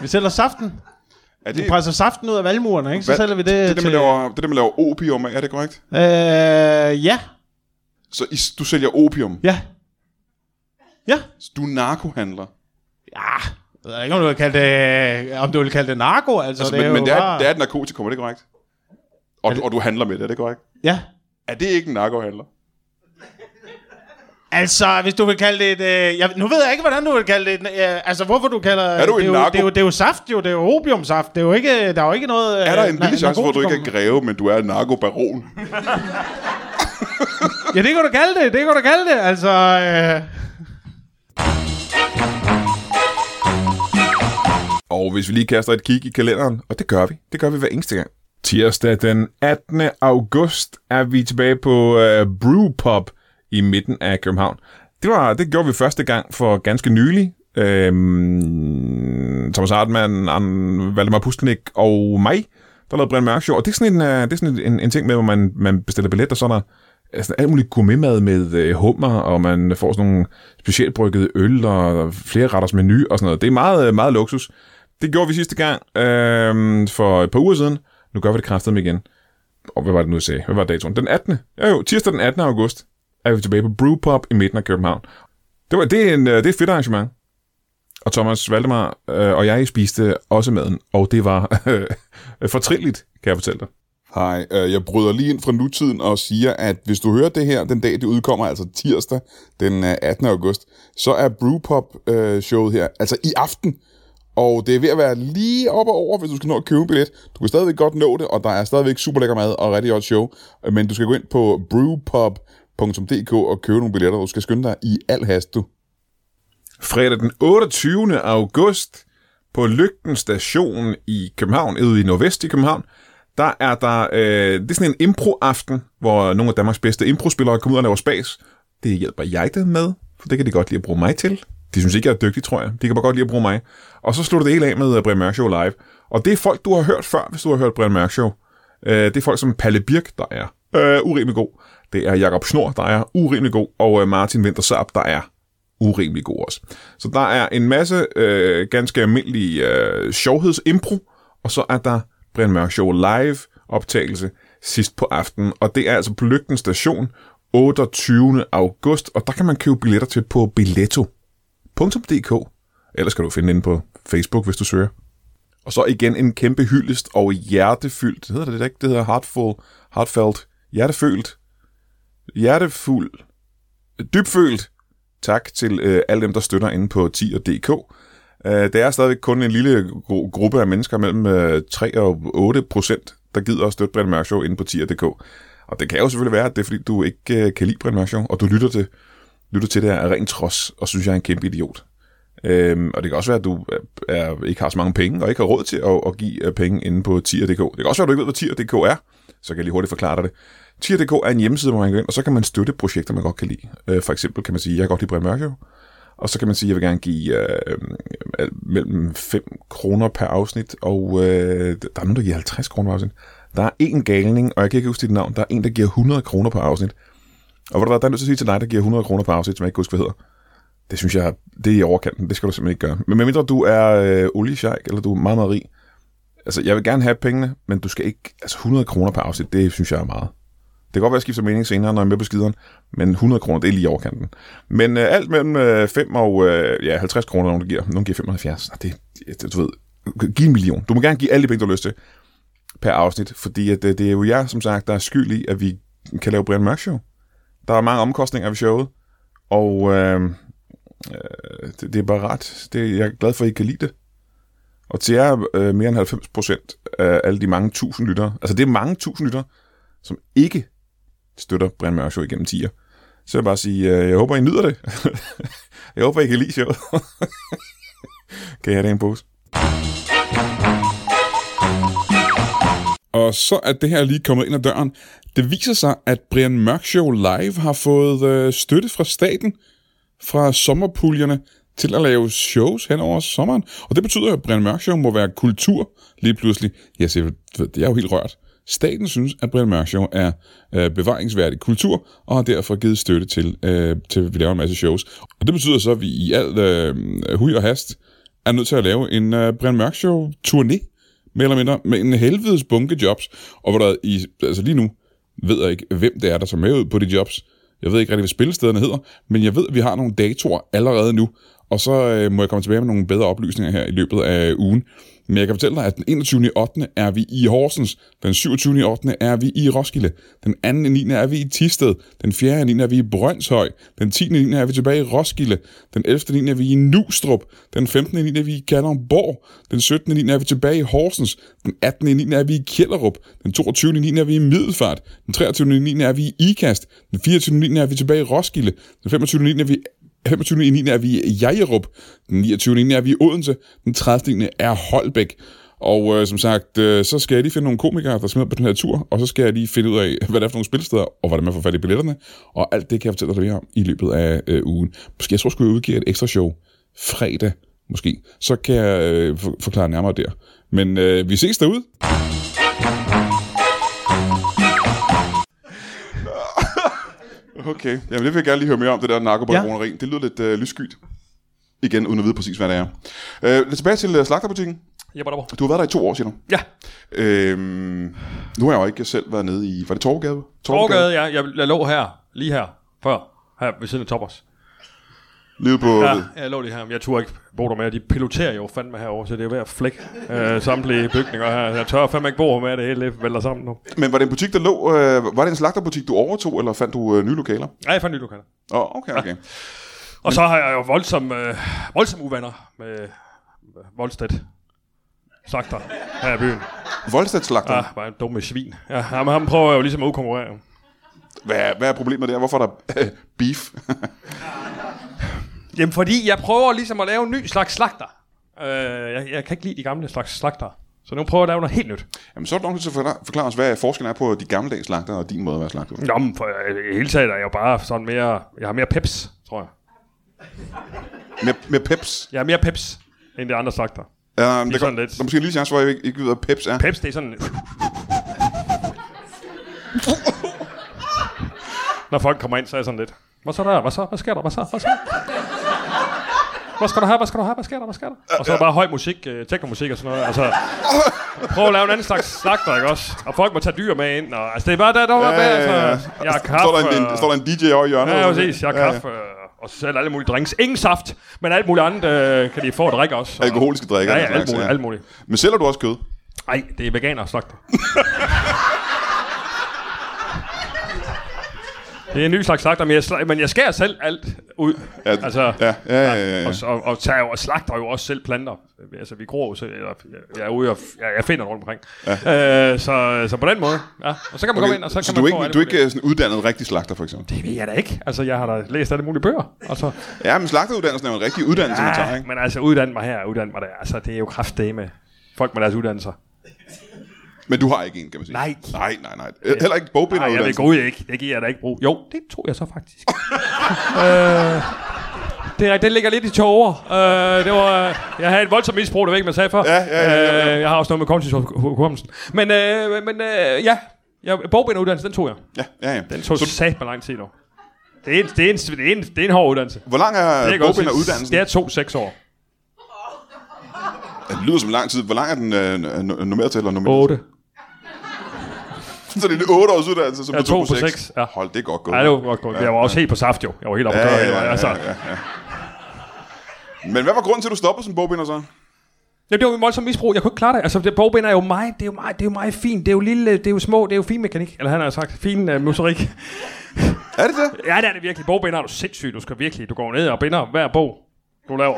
Vi sælger saften. Er Vi det, presser saften ud af valmuerne, ikke? Så hvad- sælger vi det, det, er det, til... man laver, det er det, man laver opium af, er det korrekt? Øh, ja, Så I, du sælger opium. ja. Ja. Så du er narkohandler. Ja, jeg ved ikke, om du vil kalde det, øh, om du vil kalde det narko, altså. Altså, det men, er men jo det, er, bare... det er et narkotikum, er det korrekt? Og, du, og du handler med det, er det korrekt? Ja. Er det ikke en narkohandler? Altså, hvis du vil kalde det et... Øh, jeg, nu ved jeg ikke, hvordan du vil kalde det. et- Øh, altså, hvorfor du kalder... Er du en det, er jo, narko? det, er jo, det er jo saft, jo. Det er jo opiumsaft. Det er jo ikke... Der er jo ikke noget... øh, Er der en lille chance for, at du ikke er greve, men du er en narkobaron? Ja, det kan du kalde det. Det kan du kalde det. Altså... Øh, Og hvis vi lige kaster et kig i kalenderen, og det gør vi, det gør vi hver eneste gang. Tirsdag den 18. august er vi tilbage på øh, Brewpub i midten af København. Det, var, det gjorde vi første gang for ganske nylig. Øhm, Thomas Hartmann, Ann- Valdemar Pustelnik og mig, der lavede Brian Mørk Show. Og det er sådan en, øh, det er sådan en, en ting med, hvor man, man bestiller billet, og så er der altså, alt muligt gourmetmad med øh, hummer, og man får sådan nogle specielt bryggede øl, og flere retters menu og sådan noget. Det er meget, øh, meget luksus. Det gjorde vi sidste gang øh, for et par uger siden. Nu gør vi det kraftedeme igen. Og hvad var det nu, jeg sagde? Hvad var datoen? Den 18. Ja jo, tirsdag den 18. august er vi tilbage på Brewpub i midten af København. Det, var, det, er, en, øh, det er et fedt arrangement. Og Thomas Valdemar øh, og jeg spiste også maden, og det var øh, fortrinligt, kan jeg fortælle dig. Hej, øh, jeg bryder lige ind fra nutiden og siger, at hvis du hører det her den dag, det udkommer, altså tirsdag den øh, 18. august, så er Brewpop-showet her, altså i aften. Og det er ved at være lige op og over, hvis du skal nå at købe en billet. Du kan stadigvæk godt nå det, og der er stadigvæk super lækker mad og rigtig godt show. Øh, Men du skal gå ind på brewpop.dk og købe nogle billetter. Du skal skynde dig i al hast, du. Fredag den 28. august på Lygten station i København, ude i Nordvest i København, der er der, øh, det er sådan en impro-aften, hvor nogle af Danmarks bedste impro-spillere kommer ud og laver spas. Det hjælper jeg dem med, for det kan de godt lide at bruge mig til. De synes ikke, jeg er dygtig, tror jeg. De kan bare godt lide at bruge mig. Og så slutter det hele af med øh, Brian Mørk Show live. Og det er folk, du har hørt før, hvis du har hørt Brian Mørk Show. Øh, det er folk som Palle Birk, der er øh, urimelig god. Det er Jakob Snor, der er urimelig god. Og øh, Martin Winter Saab, der er urimelig god også. Så der er en masse øh, ganske almindelige øh, sjovhedsimpro, og så er der Brian Mørk Show live optagelse sidst på aftenen, og det er altså på Lygten Station 28. august, og der kan man købe billetter til på billetto.dk. Ellers kan du finde den på Facebook, hvis du søger. Og så igen en kæmpe hyldest og hjertefyldt, hedder det det ikke? Det hedder heartful, heartfelt, hjertefølt, hjertefuld, dybfølt tak til øh, alle dem, der støtter inde på 10.dk. Øh, det er stadigvæk kun en lille gru- gruppe af mennesker mellem øh, 3 og 8 procent, der gider at støtte Brian Mørk Show inde på 10.dk. Og det kan jo selvfølgelig være, at det er fordi, du ikke øh, kan lide Brian Mørk Show, og du lytter til, lytter til det her af ren trods, og synes, jeg er en kæmpe idiot. Øhm, og det kan også være, at du er, er, ikke har så mange penge, og ikke har råd til at, at give øh, penge inde på tier.dk. Det kan også være, at du ikke ved, hvad tier.dk er. Så kan jeg lige hurtigt forklare dig det. Tier.dk er en hjemmeside, hvor man går ind, og så kan man støtte projekter, man godt kan lide. Øh, for eksempel kan man sige, jeg kan godt lide Brian Mørk Show. Og så kan man sige, at jeg vil gerne give øh, øh, mellem 5 kroner per afsnit, og øh, der er nogen, der giver 50 kroner per afsnit. Der er en galning, og jeg kan ikke huske dit navn, der er en, der giver 100 kroner per afsnit. Og hvor der, der er nødt til at sige til dig, der giver 100 kroner per afsnit, som jeg ikke kan huske, hvad hedder. Det synes jeg, det er i overkanten. Det skal du simpelthen ikke gøre. Men medmindre du er øh, oliesjejk, eller du er meget, meget rig. Altså, jeg vil gerne have pengene, men du skal ikke... Altså, 100 kroner per afsnit, det synes jeg er meget. Det kan godt være, at jeg skifter mening senere, når jeg er med på skideren, men 100 kroner, det er lige i overkanten. Men øh, alt mellem øh, 5 og øh, ja, 50 kroner, nogen der giver. Nogen giver 75. Nå, det, det, du ved, giv en million. Du må gerne give alle de penge, du har lyst til per afsnit, fordi at, øh, det er jo jer, som sagt, der er skyld i, at vi kan lave Brian Mørk Show. Der er mange omkostninger ved showet, og øh, det, det er bare ret. Det, jeg er glad for, at I kan lide det. Og til jer, øh, mere end 90 procent af alle de mange tusind lyttere, altså det er mange tusind lyttere, som ikke støtter Brian Mørk Show igennem 10'er, så vil jeg bare sige, øh, jeg håber, I nyder det. jeg håber, I kan lide showet. kan jeg have det i en pose? Og så er det her lige kommet ind ad døren. Det viser sig, at Brian Mørk Show Live har fået øh, støtte fra staten, fra sommerpuljerne, til at lave shows hen over sommeren. Og det betyder, at Brian Mørk Show må være kultur lige pludselig. Jeg siger, ved- det er jo helt rørt. Staten synes, at Brian Mørk Show er øh, bevaringsværdig kultur, og har derfor givet støtte til, øh, til at vi laver en masse shows. Og det betyder så, at vi i al øh, hui og hast er nødt til at lave en øh, Brian Mørk Show-turné mere eller mindre, med en helvedes bunke jobs, og hvor der i, altså lige nu, ved jeg ikke, hvem det er, der tager med ud på de jobs. Jeg ved ikke rigtig, hvad spillestederne hedder, men jeg ved, at vi har nogle datoer allerede nu, og så øh, må jeg komme tilbage med nogle bedre oplysninger her i løbet af ugen. Men jeg kan fortælle dig, at den 21. i 8. er vi i Horsens, den 27. i 8. er vi i Roskilde, den 2. i 9. er vi i Tisted, den 4. i 9. er vi i Brøndshøj, den 10. i 9. er vi tilbage i Roskilde, den 11. i 9. er vi i Nustrup, den 15. i 9. er vi i Kalundborg, den 17. i 9. er vi tilbage i Horsens, den 18. i 9. er vi i Kjellerup, den 22. i 9. er vi i Middelfart, den 23. i 9. er vi i Ikast, den 24. i 9. er vi tilbage i Roskilde, den 25. i 9. er vi 25. i 9. er vi i Jajerup, den 29. i 9. er vi i Odense, den 30. i 9. er Holbæk. Og øh, som sagt, øh, så skal jeg lige finde nogle komikere, der smider på den her tur, og så skal jeg lige finde ud af, hvad det er for nogle spilsteder, og hvordan man får fat i billetterne, og alt det kan jeg fortælle dig mere om i løbet af øh, ugen. Måske jeg tror, skulle jeg udgive et ekstra show fredag, måske. Så kan jeg øh, for- forklare nærmere der. Men øh, vi ses derude. Okay, jamen det vil jeg gerne lige høre mere om, det der narkobaroneri. Ja. Det lyder lidt øh, lysskyt. Igen, uden at vide præcis, hvad det er. Øh, lidt tilbage til øh, slagterbutikken. Jabba dabba. Du har været der i to år, siger du. Ja, Øhm, nu har jeg jo ikke selv været nede i... Var det Torgade? Torgade, ja. Jeg, jeg lå her, lige her, før, her ved siden af Toppers. Lige på... Ja. Ja, jeg lå lige her, men jeg turde ikke bo der med. De piloterer jo fandme herovre, så det er ved at flække øh, samtlige bygninger her. Jeg tør fandme ikke bo her med, at det hele vælter sammen nu. Men var det en butik, der lå... Øh, var det en slagterbutik, du overtog, eller fandt du øh, nye lokaler? Ja, jeg fandt nye lokaler. Åh, oh, okay, okay. Ah. Og så har jeg jo voldsom, øh, voldsom uvenner med Voldstedt. Slagter her i byen. Voldstadslagter. Ah, bare en dumme svin. Ja, ham, ham prøver jeg jo ligesom at udkonkurrere. jo. Hvad, hvad er problemet der? Hvorfor er der beef? Jamen, fordi jeg prøver ligesom at lave en ny slags slagter. Øh, jeg, jeg kan ikke lide de gamle slags slagter. Så nu prøver jeg at lave noget helt nyt. Jamen, så er du nok til at forklare- forklare os, hvad forskellen er på de gammeldags slagter og din måde at være slagter. Nå, men for, øh, i hele taget er jeg jo bare sådan mere... Jeg har mere peps, tror jeg. Med, med peps. Jeg har mere peps, end de andre slagter. Um, det er sådan lidt. Der er måske en lille chance, hvor jeg ikke, ikke ved, hvad peps er. Peps, det er sådan... Når folk kommer ind, så er jeg sådan lidt... Hvad så der? Hvad så? Hvad sker der? Hvad så? Hvad så? Hvad skal du have? Hvad skal du have? Hvad sker der? Hvad sker der? Og så er der bare høj musik, øh, teknomusik og sådan noget. Altså, prøv at lave en anden slags slagter, ikke også? Og folk må tage dyr med ind. Og, altså, det er bare der, der var ja, altså, ja, ja. Jeg har kaffe. Står der en, en, står der en DJ over i hjørnet? Ja, præcis. Jeg har kaffe. øh, Og så sælger alle mulige drinks. Ingen saft, men alt muligt andet øh, kan de få at drikke også. Og- Alkoholiske drikker. Ja, ja, og den alt slags, muligt. Alt muligt. Men sælger du også kød? Nej, det er veganer og slagter. det er en ny slags slagter, men jeg, sla- men jeg skærer selv alt ud. Ja, altså, ja, ja, ja, ja, ja. Og, s- og, og, tager jo, og slagter jo også selv planter. Altså, vi gror jo selv, eller jeg, jeg er ude og f- jeg, jeg finder rundt omkring. Ja. Øh, så, så på den måde, ja. Og så kan man okay, komme ind, og så, så kan du man er få ikke, alt du er muligt. ikke øh, sådan uddannet rigtig slagter, for eksempel? Det ved jeg da ikke. Altså, jeg har da læst alle mulige bøger. altså. Og så, Ja, men slagteruddannelsen er jo en rigtig uddannelse, man tager, ah, ikke? men altså, uddanne mig her, uddanne mig der. Altså, det er jo kraftdame. Folk med deres uddannelser. Men du har ikke en, kan man sige. Nej. Nej, nej, nej. Heller ikke bogbinder Nej, jeg vil gå uddannelsen. ud ikke. Det giver jeg da ikke brug. Jo, det tror jeg så faktisk. øh, det, er- det ligger lidt i tårer. Øh, det var, øh, jeg havde et voldsomt misbrug, det ved ikke, man sagde før. Ja, ja, ja, ja, Øh, jeg har også noget med kognitivhukommelsen. Men, øh, men øh, ja, jeg, bogbinderuddannelsen, den tog jeg. Ja, ja, ja. Den tog så... sat lang tid nu. Det er, en, det, er en, det, er en, det er en hård uddannelse. Hvor lang er Det kan jeg godt sige. bogbinderuddannelsen? Det er to seks år. Ja, Det lyder som lang tid. Hvor lang er den øh, n- n- nummeret til? Eller nummeret? Otte. Så det er en 8 års uddannelse, som Ja, er 2 på to på 6. seks, ja. Hold, det er godt gået. Nej, det var godt gået. Jeg var også helt på saft, jo. Jeg var helt oppe at køre hele vejen, altså. Men hvad var grunden til, at du stoppede som bogbinder så? Jamen, det var jo voldsomt misbrug. Jeg kunne ikke klare det. Altså, det, bogbinder er jo mig. Det er jo mig. Det er jo mig fint. Det er jo lille. Det er jo små. Det er jo fin mekanik. Eller han har sagt. Fin uh, motorik. Er det det? ja, det er det virkelig. Bogbinder er du sindssyg. Du skal virkelig. Du går ned og binder hver bog, du laver.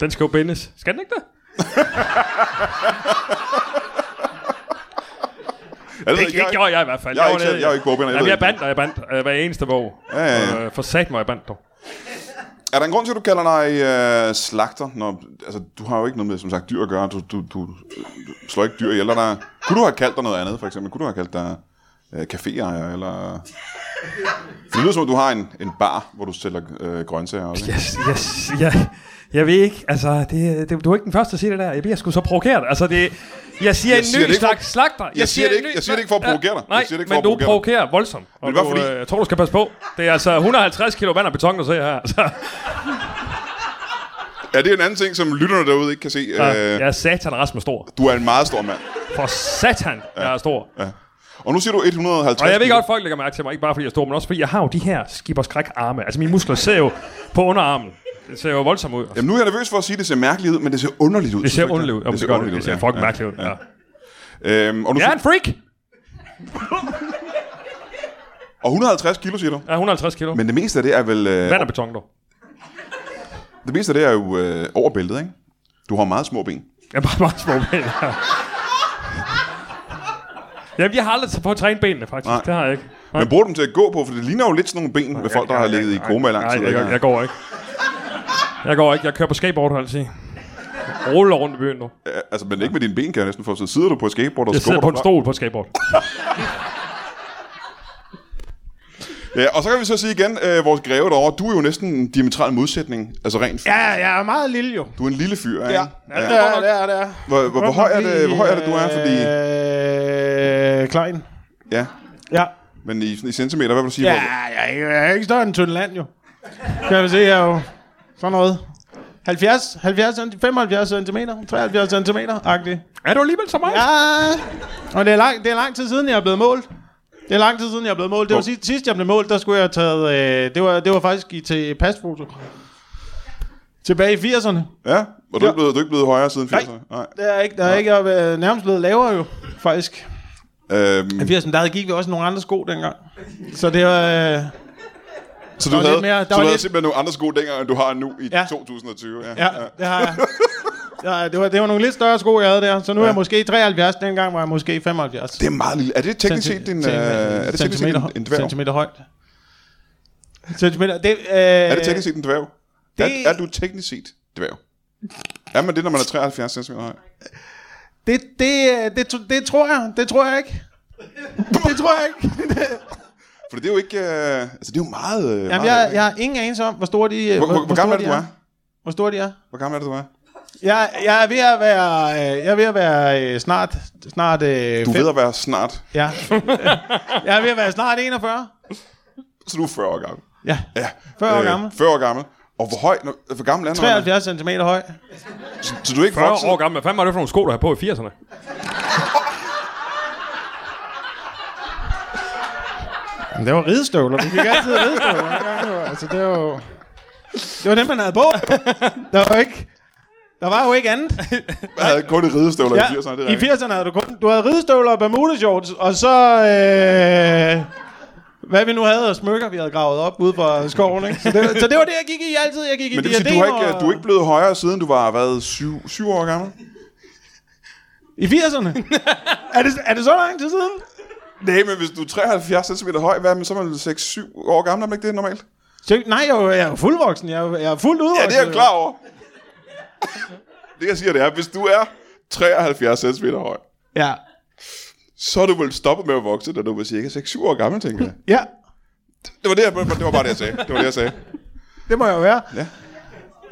Den skal jo bindes. Skal den ikke det? Er det, Det, det gjorde jeg i hvert fald. jeg er var ikke selv- nede- jeg er jo ikke bogbinder, jeg Jamen, ved jeg ikke. bandt, og jeg bandt øh, hver eneste bog. Ja, ja, ja. Øh, for sat mig, jeg bandt dog. Er der en grund til, at du kalder dig øh, slagter? Når, altså, du har jo ikke noget med, som sagt, dyr at gøre. Du, du, du, du slår ikke dyr ihjel. Eller der, kunne du have kaldt dig noget andet, for eksempel? Kunne du have kaldt dig øh, caféejer, eller... For det lyder som om, du har en, en bar, hvor du sælger øh, grøntsager. Også, ikke? Yes, yes, ja. Jeg ved ikke, altså, det, det, du er ikke den første, der siger det der. Jeg bliver sgu så provokeret. Altså, det, jeg siger Jeg en siger det ikke ny slags for- slagter. Jeg, siger det en ikke- jeg siger det ikke for at provokere dig. Nej, Jeg siger det ikke for men at du provokere dig. provokerer voldsomt. Og det var du, fordi- øh, jeg tror, du skal passe på. Det er altså 150 kilo vand og beton, du ser her. Altså, Ja, det er en anden ting, som lytterne derude ikke kan se. Ja, Øh, jeg er satan Rasmus stor. Du er en meget stor mand. For satan, jeg er stor. Og nu siger du 150 Og jeg ved kilo. godt, at folk lægger mærke til mig, ikke bare fordi jeg er stor, men også fordi jeg har jo de her skibberskræk arme. Altså mine muskler ser jo på underarmen. Det ser jo voldsomt ud. Jamen, nu er jeg nervøs for at sige, at det ser mærkeligt ud, men det ser underligt ud. Det ser synes du ikke underligt ud. Jamen, Det ser gør underligt ud, Det ser ja. fucking mærkeligt ud. Ja. Øhm, og, du Jeg er siger, en freak! og 150 kilo, siger du. Jeg er 150 kilo. Men det meste af det er vel... Øh, Vand og beton, dog. det meste af det er jo øh, over bæltet, ikke? Du har meget små ben. Jeg er bare meget små ben. ja. Jamen, jeg har aldrig på at træne benene, faktisk. Nej. Nej. Det har jeg ikke. Nej. Men bruger du dem til at gå på, for det ligner jo lidt sådan nogle ben med folk, der har ligget i koma i lang tid. Nej, ikke? jeg, jeg går ikke. Jeg går ikke. Jeg kører på skateboard, har jeg altid. Ruller rundt i byen nu. Ja, Altså, men ikke med dine ben, kan jeg næsten få. Så sidder du på et skateboard og Jeg sidder skubber på en dig stol på et skateboard. frem. Ja, og så kan vi så sige igen, øh, vores greve derovre, du er jo næsten en diametral modsætning. Altså rent Ja, jeg er meget lille jo. Du er en lille fyr, ikke? Ja, ja. det er, det er, det er. Hvor, hvor, hvor, høj er det, hvor høj er det, du er? Fordi, Øh, Klein. ja, Ja. men i, i centimeter, hvad vil du sige? Ja, Hvor- jeg, er ikke- jeg er ikke større end Tyndland jo. Kan jeg se, jeg er jo sådan noget. 70, 70 centi- 75 cm, 73 cm, agtig. Er du alligevel så meget? Ja, og det er, lang, det er lang tid siden, jeg er blevet målt. Det er lang tid siden, jeg er blevet målt. Det var sidst, sidst jeg blev målt, der skulle jeg have taget... Øh, det, var, det var faktisk i, til pasfoto. Tilbage i 80'erne. Ja, og du er, ikke blevet, du er ikke blevet højere siden Nej. 80'erne? Nej. Der er ikke, der er ikke jeg er øh, nærmest blevet lavere jo, faktisk. I Øhm, 80'erne, der gik vi også nogle andre sko dengang. Så det var... Øh, så du var lidt havde, mere- der så var du havde lidt- simpelthen nogle andre sko dengang, end du har nu i Ja. 2020? Ja. Ja, det har jeg. Ja, det, var, det var nogle lidt større sko, jeg havde der. Så nu ja. er jeg måske 73, dengang var jeg måske 75. Det er meget lille. Er det teknisk set din, øh, er det teknisk set centimeter, en, en dværg? centimeter højt. Centimeter, det, øh, Er det teknisk set en dværg? det- Er, er du teknisk set dværg? Er man det, når man er 73 cm høj? det, det, øh, det, tr- det, tror jeg, det tror jeg ikke. Det tror jeg ikke. For det er jo ikke... Øh, altså, det er jo meget... Øh, Jamen, meget jeg, ikke? jeg har ingen anelse om, hvor store de, øh, hvor, hvor, hvor, gammel store er det, de du er? Hvor store de er. Hvor gammel er det, du er? Jeg, jeg er ved at være, øh, jeg er ved at være øh, snart, snart øh, Du fem- ved at være snart... Ja. jeg er ved at være snart 41. Så du er 40 år gammel. Ja. Ja. 40 år gammel. 40 år gammel. Og hvor høj... Når, hvor gammel er du? 73 cm høj. Så, så du er ikke 40 vokset? år gammel. Hvad fanden var det for nogle sko, du havde på i 80'erne? Men det var ridestøvler. Vi gik altid i ridestøvler. dengang, jo. altså, det var jo... Det var dem, man havde på. Der var jo ikke... Der var jo ikke andet. Jeg havde kun et ridestøvler i 80'erne. Det er I rigtigt. 80'erne havde du kun... Du havde ridestøvler og bermudashorts, og så... Øh, hvad vi nu havde af smykker, vi havde gravet op ude fra skoven, ikke? Så det, så det var det, jeg gik i altid. Jeg gik i Men det vil sige, du, har diademer ikke, og- du er ikke blevet højere, siden du var, hvad, 7, 7 år gammel? I 80'erne? er, det, er det så lang tid siden? Nej, men hvis du er 73 cm høj, hvad er man så er man 6-7 år gammel, er man ikke det normalt? Så, nej, jeg er, jo, jeg er jo fuldvoksen. Jeg er, jo- jeg er fuldt Ja, udvoksen. det er jeg klar over. det jeg siger, det er, hvis du er 73 cm høj, Ja. så er du vel stoppet med at vokse, da du var cirka 6-7 år gammel, tænker jeg. ja, Det var, det, jeg, det var bare det, jeg sagde. Det var det, jeg sagde. det må jeg jo være.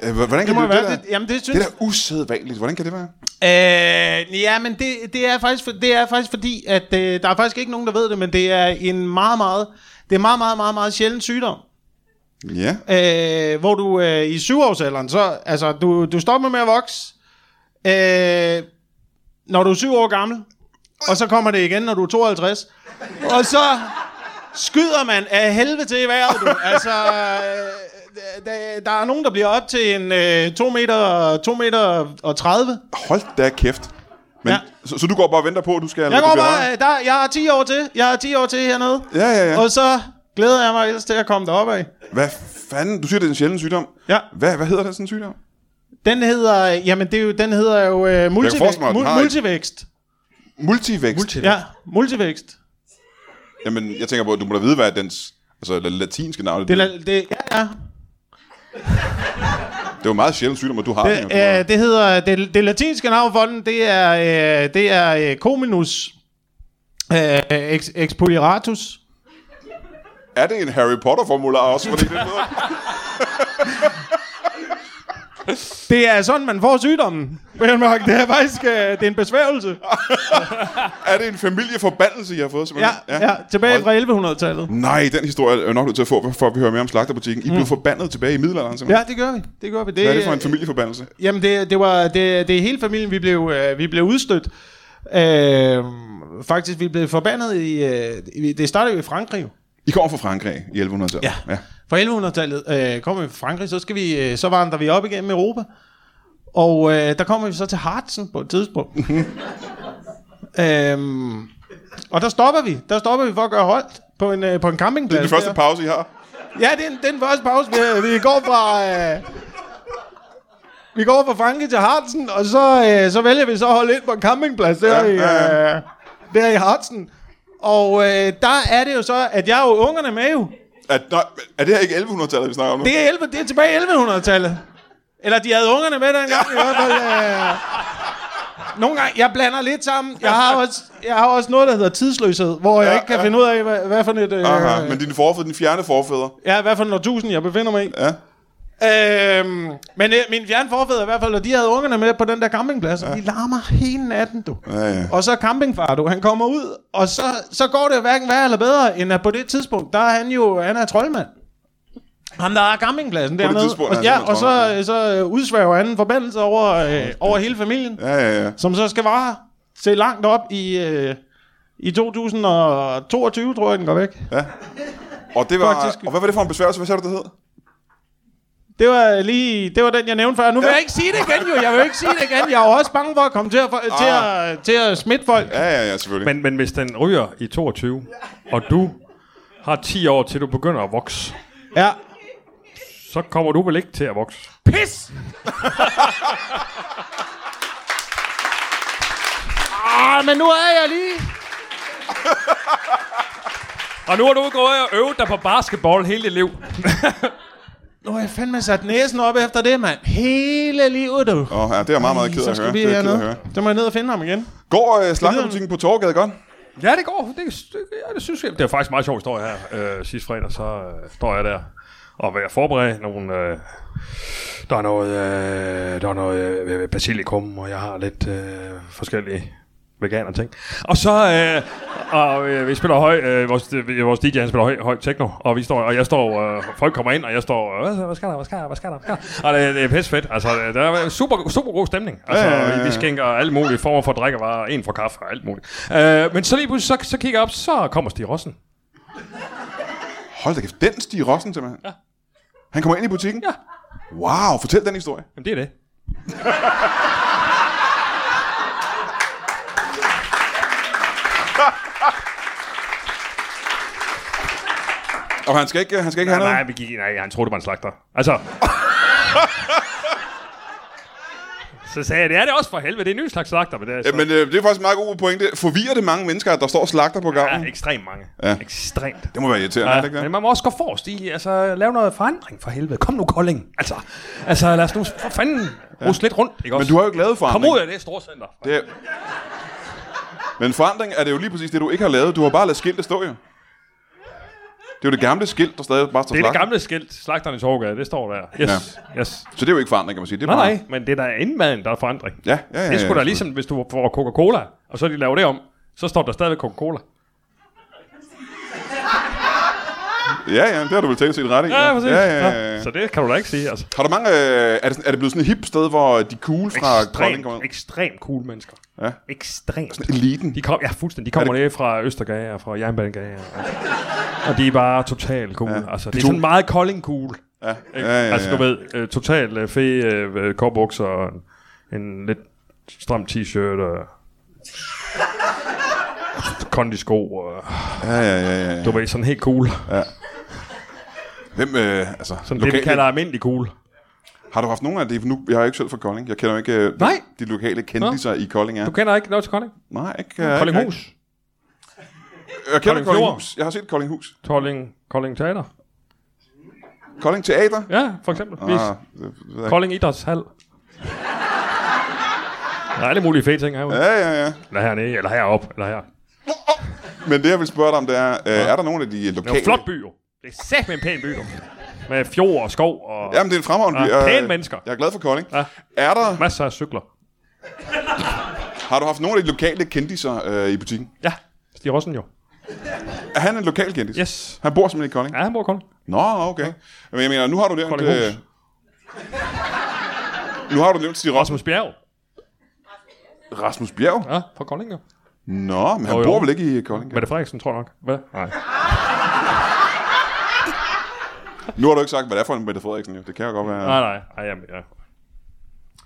Øh, Hvordan kan Det det, må det, jeg det, være. der, Det, jamen, det synes det der usædvanligt, hvordan kan det være? Øh, ja, men det, det, er faktisk, for- det er faktisk fordi, at øh, der er faktisk ikke nogen, der ved det, men det er en meget, meget, det er meget, meget, meget, meget sjælden sygdom. Ja, Øh, hvor du øh, i syvårsalderen, så, altså, du, du stopper med at vokse, øh, når du er syv år gammel, og så kommer det igen, når du er 52. Og så skyder man af helvede til i vejret, du. Altså, øh, der, der er nogen, der bliver op til en øh, 2 meter, 2 meter og 30. hold da kæft. Men, ja. Ja. så, så, du går bare og venter på, at du skal... Jeg går bare, øh, der, jeg har 10 år til, jeg har 10 år til hernede. Ja, ja, ja. Og så glæder jeg mig ellers til at komme deroppe af. Hvad fanden? Du siger, det er en sjælden sygdom. Ja. Hvad, hvad hedder den sådan en sygdom? Den hedder, jamen det er jo, den hedder jo uh, multivækst. forestille mig, at den har Mul- et- multivækst. Multivækst. Ja, multivækst. Jamen, jeg tænker på, at du må da vide, hvad dens altså, la- latinske navn Det, det, er la- det, ja, ja. det var meget sjældent sygdom, at du har den. jo. Det, øh, det hedder, det, det latinske navn for den, det er, øh, det er øh, Cominus øh, ex, expoliratus. er det en Harry Potter-formular også? Fordi det er noget- Det er sådan, man får sygdommen, Brian Mørk. Det er faktisk øh, det er en besværgelse. Er det en familieforbandelse, I har fået? Ja, simpelthen? ja. tilbage fra 1100-tallet. Nej, den historie er jeg nok nødt til at få, før vi hører mere om slagterbutikken. I blev forbandet tilbage i middelalderen, simpelthen. Mm. Ja, det gør vi. Det øh, gør vi. Hvad er det for en familieforbandelse? Jamen, det, det var det, det er hele familien, vi blev, øh, vi blev udstødt. Øh, faktisk, vi blev forbandet i... Øh, i- det startede jo i Frankrig. jo. I kommer fra Frankrig i 1100-tallet. Ja. ja. Fra 1100-tallet øh, kom vi fra Frankrig, så, skal vi, øh, så vandrer vi op igennem Europa. Og øh, der kommer vi så til Harzen på et tidspunkt. øhm, og der stopper vi. Der stopper vi for at gøre holdt på en, øh, på en campingplads. Det er den første pause, I har. Ja, det er den, den første pause. Vi, vi går fra... Øh, vi går fra Franke til Hartsen, og så, øh, så vælger vi så at holde ind på en campingplads Ja, der, ja, ja, ja. I, øh, der i Hartsen. Og øh, der er det jo så, at jeg er jo ungerne med jo. Er, nej, er det her ikke 1100-tallet, vi snakker om nu? Det er, 11, det er tilbage i 1100-tallet. Eller de havde ungerne med dengang i hvert fald. Øh. Nogle gange, jeg blander lidt sammen. Jeg har også, jeg har også noget, der hedder tidsløshed, hvor jeg Ja, ikke kan ja. finde ud af, hvad, hvad for et... Øh, Aha, men dine forfædre, dine fjerne forfædre. Ja, hvad for en årtusind, jeg befinder mig i. Ja. Øhm, men øh, min fjernforfædre i hvert fald, og de havde ungerne med på den der campingplads, og de larmer hele natten, du. Ja, ja. Og så campingfar, du, han kommer ud, og så, så går det jo hverken værre eller bedre, end at på det tidspunkt, der er han jo, han er troldmand. Ham, der er campingpladsen dernede. tidspunkt er han og, ja, og simpelthen så, øh, så øh, udsværger han en forbandelse over, øh, over hele familien, Ja, ja, ja. som så skal vare til langt op i, øh, i 2022, tror jeg, den går væk. Og, det var, Faktisk- og hvad var det for en besværgelse? Hvad sagde du, det hed? Det var lige, det var den, jeg nævnte før. Nu vil jeg ikke sige det igen, jo. Jeg vil ikke sige det igen. Jeg er jo også bange for at komme til at, for, til at, til at smitte folk. Ja, ja, ja, selvfølgelig. Men, Men, men hvis den ryger i 22, og du har 10 år, til du begynder at vokse, Ja. så kommer du vel ikke til at vokse. Pis! ah, men nu er jeg lige... Og nu har du gået og øvet dig på basketball hele dit liv. Nu har jeg fandme sat næsen op efter det, mand. Hele livet, du. Åh, ja, det er jeg meget, meget ked af Så at skal høre. vi Det er jeg ked af at hernede. høre. Så må jeg ned og finde ham igen. Går øh, slagterbutikken på Torgade godt? Ja, det går. Det, det, ja, det synes jeg. Det er faktisk en meget sjov historie her. Øh, sidste fredag, så øh, står jeg der og er ved at forberede nogle... Øh, der er noget, øh, der er noget øh, basilikum, og jeg har lidt øh, forskellige veganer ting. Og så, øh, og, øh, vi spiller høj, øh, vores, øh, vores DJ han spiller høj, høj techno, og, vi står, og jeg står, øh, folk kommer ind, og jeg står, øh, hvad, hvad skal der, hvad skal der, hvad skal der, hvad skal der? Og det, det er pisse fedt, altså, der er super, super god stemning. Altså, Ja, ja, ja, ja. vi skænker alle mulige former for drikkevarer, en for kaffe og alt muligt. Øh, men så lige pludselig, så, så kigger jeg op, så kommer Stig Rossen. Hold da kæft, den Stig Rossen simpelthen. Ja. Han kommer ind i butikken? Ja. Wow, fortæl den historie. Jamen, det er det. Og han skal ikke, øh, han skal ikke Nej, have nej, noget? vi gik, nej, han troede, det var en slagter. Altså... så sagde jeg, det er det også for helvede, det er en ny slags slagter. Men det er så... Ja, men øh, det er faktisk en meget god pointe. Forvirrer det mange mennesker, at der står og slagter på Ja, gavlen? ekstremt mange. Ja. Ja. Ekstremt. Det må være irriterende, ja. ikke men det? man må også gå forrest i, altså lave noget forandring for helvede. Kom nu, Kolding. Altså, altså lad os nu for fanden ja. ruske lidt rundt, ikke Men også? du har jo ikke lavet Kom forandring. ud af det store center. Det er... Men forandring er det jo lige præcis det, du ikke har lavet. Du har bare lavet skiltet stå, jo. Det er jo det gamle skilt, der stadig bare står Det er det slagter. gamle skilt, slagterne i Torgade, det står der. Yes, ja. yes. Så det er jo ikke forandring, kan man sige. Det er Nej, bare... nej, men det er der indmaden, der er forandring. Ja, ja, ja. Det er sgu ja, da ligesom, hvis du får Coca-Cola, og så de laver det om, så står der stadigvæk Coca-Cola. Ja, ja, det har du vel tænkt set ret i. Ja, præcis. Ja, ja, ja, ja. Så det kan du da ikke sige, altså. Har du mange... Øh, er, det, sådan- er det blevet sådan et hip sted, hvor de cool fra Kolding kommer Ekstremt, ud? ekstremt cool mennesker. Ja. Ekstremt. Eliten. De kom, ja, fuldstændig. De kommer det... fra Østergade og fra Jernbanegade. Og, og de er bare totalt cool. Ja. Altså, det er To- sådan meget kolding cool. Ja, ja, Ikke? ja, ja. Altså, du ved, øh, totalt øh, fede øh, korbukser og en, en lidt stram t-shirt og kondisko og Ja, ja, ja, ja, ja. du ved, sådan helt cool. Hvem, øh, altså... Sådan det, vi kalder almindelig cool. Har du haft nogen af det? Nu, jeg er jo ikke selv fra Kolding. Jeg kender jo ikke øh, Nej. de lokale kendtiser i Kolding. Er. Du kender ikke noget til Kolding? Nej, ikke... øh, Koldinghus? ikke- Jeg kender Kolding Koldinghus. Jeg har set Koldinghus. Kolding, Kolding Teater? Kolding Teater? Ja, for eksempel. Vis. Ah, det ved jeg ikke. Kolding Idrætshal. Der er alle mulige fede ting herude. Ja. Ja, ja, ja. Eller hernede, eller heroppe, eller her. Men det, jeg vil spørge dig om, det er, øh, er der nogen af de Det er lokale... jo flot by, jo. Det er sæt med en pæn by, jo. Med fjord og skov og ja. Jamen, det er en fremragende Ja, by. Jeg- pæne mennesker. Jeg er glad for Kolding. Ja. Er der, masser af cykler. har du haft nogle af de lokale kendiser øh, i butikken? Ja, Stig Rossen jo. Er han en lokal kendis? Yes. Han bor simpelthen i Kolding? Ja, han bor kun. Nå, okay. Men jeg mener, nu har du nævnt... Koldinghus. Øh, nu har du nævnt Stig Rasmus, Rasmus Bjerg. Rasmus Bjerg. Ja, fra Kolding jo. Nå, men han Jo, jo. bor vel ikke i Kolding? Mette Frederiksen, tror jeg nok. Hvad? Nej. Nu har du ikke sagt, hvad det er for en Mette Frederiksen. Jo. Det kan jo godt være. Nej, nej. Ej, jamen, ja.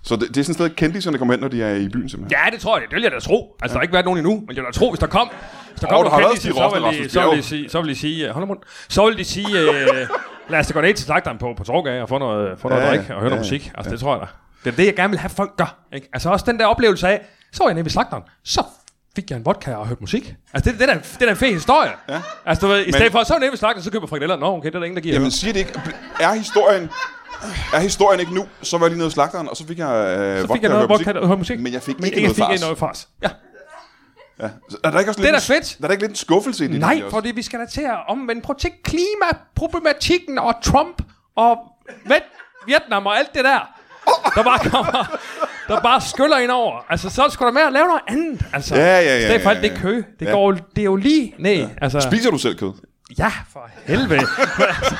Så det, det er sådan et sted, kendiserne kommer hen, når de er i byen simpelthen. ja, det tror jeg. Det vil jeg da tro. Altså, der har ikke været nogen endnu, men jeg vil da tro, hvis der kom... Hvis der Åh, kom der har nogle været Stig kendte, så, Rossen og vil de, Rasmus så, vil de Bjerg. sige, så vil de sige... øh, Hold da mund. Så vil de sige... Øh, lad os da gå ned til slagteren på, på Torgage og få noget, få noget Ja, ja, ja. drik og høre ja, noget Ja, ja. musik. Altså, det tror jeg da. Det er det, jeg gerne vil have, folk gør. Ikke? Altså, også den der oplevelse af... Så var jeg nede ved slagteren. Så fik jeg en vodka og hørte musik. Altså, det, det, er, da- det er da en fed historie. Ja. Altså, du ved, i stedet for, så er jeg nede ved slagteren, så køber jeg frikadeller. Nå, okay, det er der ingen, der giver. Jamen siger det ikke. Er historien, er historien ikke nu, så var jeg lige nede hos slagteren, og så fik jeg øh, Så fik jeg noget vodka og hørte musik. Men jeg fik men ikke jeg noget fik fars. ikke noget fars. Ja. Så Er der ikke også Det er lidt da en- fedt. Er der ikke lidt en skuffelse i det? Nej, egentlig også? fordi vi skal da til at omvende. Prøv at tænke klimaproblematikken og Trump og Vet- Vietnam og alt det der. Der bare kommer, der bare skyller ind over. Altså, så skulle der med at lave noget andet. Altså, Ja, ja, ja, I stedet for ja, alt det ja. kø. Det, Ja. går, jo- det er jo lige ned. Ja. Altså, Spiser du selv kød? ja, for helvede. Men altså,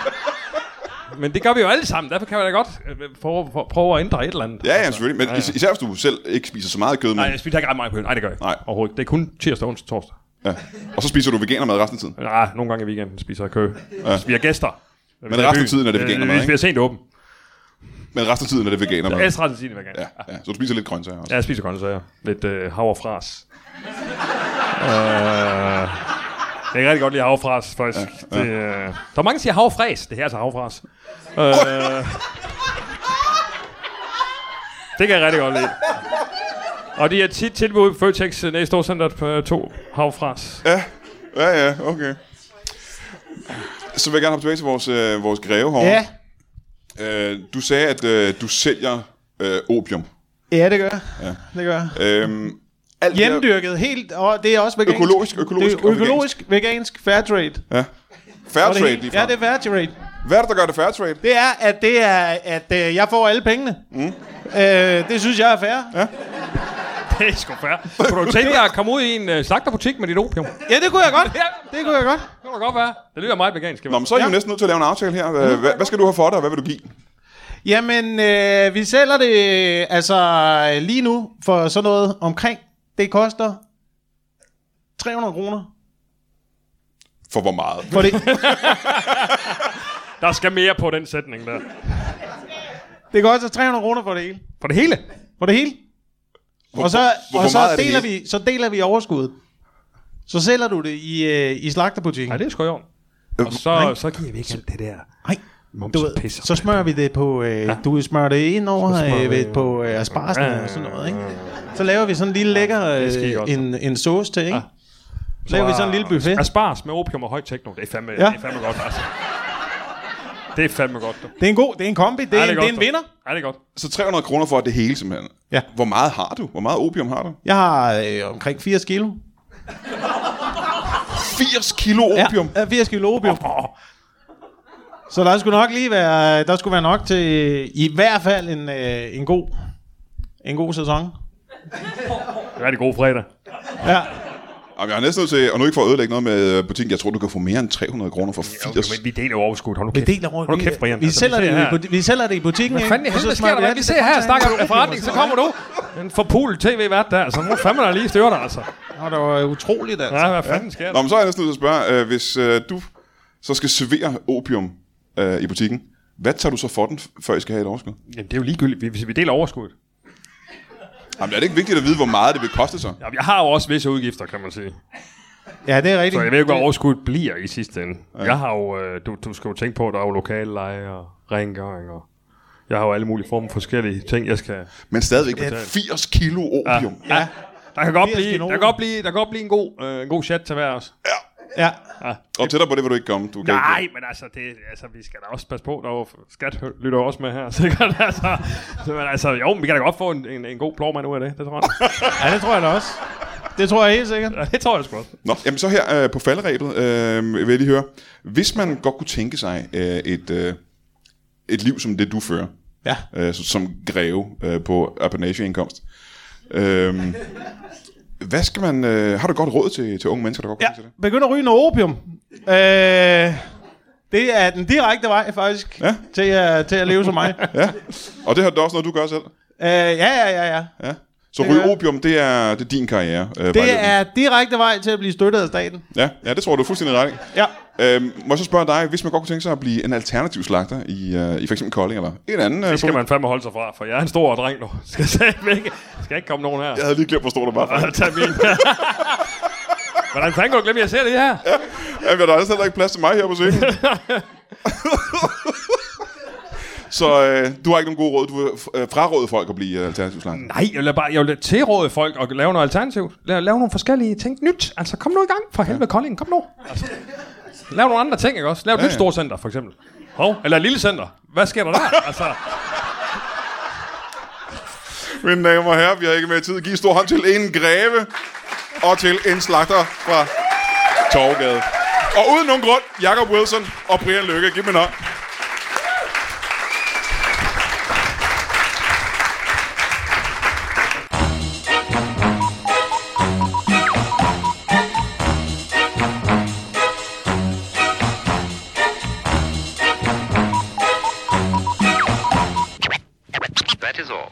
Men det gør vi jo alle sammen. Derfor kan vi da godt øh, prøve, prøve- prøve at ændre et eller andet. Ja, ja, selvfølgelig. Men is- især hvis du selv ikke spiser så meget kød, men, Nej, jeg spiser ikke ret meget på Nej, det gør jeg ikke. Nej. Overhovedet ikke. Det er kun tirsdag, onsdag, torsdag. ja. og så spiser du veganermad resten af tiden. Ja, nogle gange i weekenden spiser jeg kø. Ja. Vi har gæster. Men resten af tiden er det veganermad, Øh, Vi ikke? er sent åben. Men resten af tiden er det veganermad. Altså- Ellers resten af tiden er vegan. Ja, ja. Så du spiser lidt grøntsager også. Ja, jeg spiser grøntsager. Lidt øh, havrefras. øh, Øh. jeg kan rigtig godt lide havrefras, faktisk. Ja, ja. Det, øh, der er mange, der siger havrefræs. Det her er altså havrefras. Øh, det kan jeg rigtig godt lide. Og de er tit tilbud i Føtex øh, næste år center på to havrefras. Ja, ja, ja, okay. Så vil jeg gerne hoppe tilbage til vores, øh, vores greve herovre. Ja, Øh, du sagde, at øh, du sælger øh, opium. ja det gør jeg. Ja. Det gør jeg. Øhm, alt det her- Hjemdyrket helt, og det er også vegansk. Økologisk, økologisk Det og er vegansk. økologisk, vegansk, fairtrade. Ja. Og det Fairtrade hele- lige Ja, det er fairtrade. Hvad er det, der gør det fairtrade? Det er, at, det er, at øh, jeg får alle pengene. Mm. Øh, det synes jeg er fair. Ja. Det er sgu fair. Kunne du tænke dig at komme ud i en øh, slagterbutik med dit opium? ja, det kunne jeg godt. Det kunne jeg godt. Det kunne da godt være. Det lyder meget vegansk. i Nå, hvert men så er I jo næsten nødt til at lave en aftale her. Mm. Hvad, hvad, hvad skal du have for dig, og hvad vil du give? Jamen, øh, vi sælger det øh, altså øh, lige nu for sådan noget omkring. Det koster 300 kroner. For hvor meget? For det, fald. Der skal mere på den sætning der. det koster 300 kroner for det hele. For det hele. For det hele. Hvor, Og så, hvor, og hvor så, meget er det deler, hele? vi, så deler vi overskuddet. Så sælger du det i, øh, i slagterbutikken. Nej, det er sgu i orden. Øh, Og så, så giver vi ikke alt det der. Nej, Mums du og ved, pis og så smører vi det på, øh, ja. du smører det ind over smører øh, vi- ved, på øh, asparsen Ja, og sådan noget, ikke? Så laver vi sådan en lille lækker det er skide øh, godt. en, en sauce til, ikke? Så laver vi sådan en lille buffet. Aspars med opium og høj techno. Det er fandme, ja. det er fandme godt, altså. Det er fandme godt, du. Det er en god, det er en kombi, det er, Ja, ja, det er, godt, det er en du. vinder. Ja, det er godt. Så 300 kroner for det hele, simpelthen. Ja. Hvor meget har du? Hvor meget opium har du? Jeg har øh, omkring 80 kilo. 80 kilo opium. Ja, ja, 80 kilo opium. Åh, Så der skulle nok lige være, der skulle være nok til øh, i hvert fald en, øh, en god en god sæson. det er rigtig god fredag. Ja. Jamen, jeg er næsten nødt til, og nu ikke for at ødelægge noget med øh, butikken, jeg tror, du kan få mere end 300 kroner for 80. Ja, okay, men vi deler jo overskud. Hold nu Vi kæft. deler rundt. Hold nu kæft, Brian. Altså, Vi, vi, sælger det, sidder i her. buti- vi sælger det i butikken, Hvad fanden i Og så helvede smager sker der? alt Vi det sidder her og koncentrat snakker af om opium, forretning, så kommer du. En forpulet tv-vært der, så nu fandme der lige styrer dig, altså. Og det var utroligt, altså. Ja, hvad fanden sker Nå, der? men så er jeg næsten nødt til at spørge, øh, hvis øh, du så skal servere opium øh, i butikken, hvad tager du så for den, f- før I skal have et overskud? Jamen, det er jo ligegyldigt, vi- hvis vi deler overskuddet. Jamen, er det ikke vigtigt at vide, hvor meget det vil koste sig? Ja, jeg har jo også visse udgifter, kan man sige. Ja, det er rigtigt. Så jeg ved ikke, hvor overskuddet bliver i sidste ende. Ja. Jeg har jo, øh, du, du skal jo tænke på, at der er jo lokale leje og rengøring, og jeg har jo alle mulige former for forskellige ting, jeg skal... Men stadigvæk 80 kilo opium. Ja. ja. Der kan, godt Det er blive, sgu der, nogen. kan godt blive, der kan godt blive en god, øh, en god chat til hver os. Ja. Og tættere på det vil du ikke komme. Du kan Nej, Ikke. men altså, det, altså, vi skal da også passe på. Der er jo skat hø- lytter jo også med her, sikkert. Altså, så, men altså, jo, men vi kan da godt få en, en, en god plovmand ud af det, det tror jeg. ja, det tror jeg da også. Det tror jeg helt sikkert. Ja, det tror jeg sgu også. Nå, jamen så her øh, på falderæbet øh, vil jeg lige høre. Hvis man godt kunne tænke sig øh, et, øh, et liv som det, du fører, Ja. øh, så- som greve øh, på apanageindkomst. Øhm, hvad skal man... Øh, har du et godt råd til, til unge mennesker, der godt kan Ja, lide til det? begynd at ryge noget opium. Øh, det er den direkte vej, faktisk, Ja. ja. til, at, til at leve som mig. ja. Og det har du også noget, du gør selv. Øh, ja, ja, ja, ja. Ja. Så Det ryge gør jeg. opium, det er, det er din karriere. Øh, Det vejledning. er direkte vej til at blive støttet af staten. Ja, ja, det tror jeg, du er fuldstændig ret. i. Ja. Øhm, må jeg så spørge dig, hvis man godt kunne tænke sig at blive en alternativ slagter i, øh, i for eksempel Kolding eller øh, en anden... Det skal man fandme holde sig fra, for jeg er en stor dreng nu. Skal jeg ikke, skal ikke komme nogen her. Jeg havde lige glemt, hvor stor du var. Og tage min. Hvordan fanden går glemme, at jeg ser det her? Jamen, der er altså heller ikke plads til mig her på scenen. så øh, du har ikke nogen gode råd. Du vil øh, fraråde folk at blive øh, alternativ slange. Nej, jeg vil da bare jeg vil da tilråde folk at lave noget alternativ. Lave, lave nogle forskellige ting. Nyt. Altså, kom nu i gang. For helvede, Kolding. Kom nu. Altså, lav nogle andre ting, ikke også? Lav et Ja, nyt ja. stort center, for eksempel. Hov, eller et lille center. Hvad sker der der? Altså, Mine damer og herrer, vi har ikke mere tid. Giv stor hånd til en greve og til en slagter fra Torvgade. Og uden nogen grund, Jacob Wilson og Brian Lykke. Giv dem en hånd. That is all.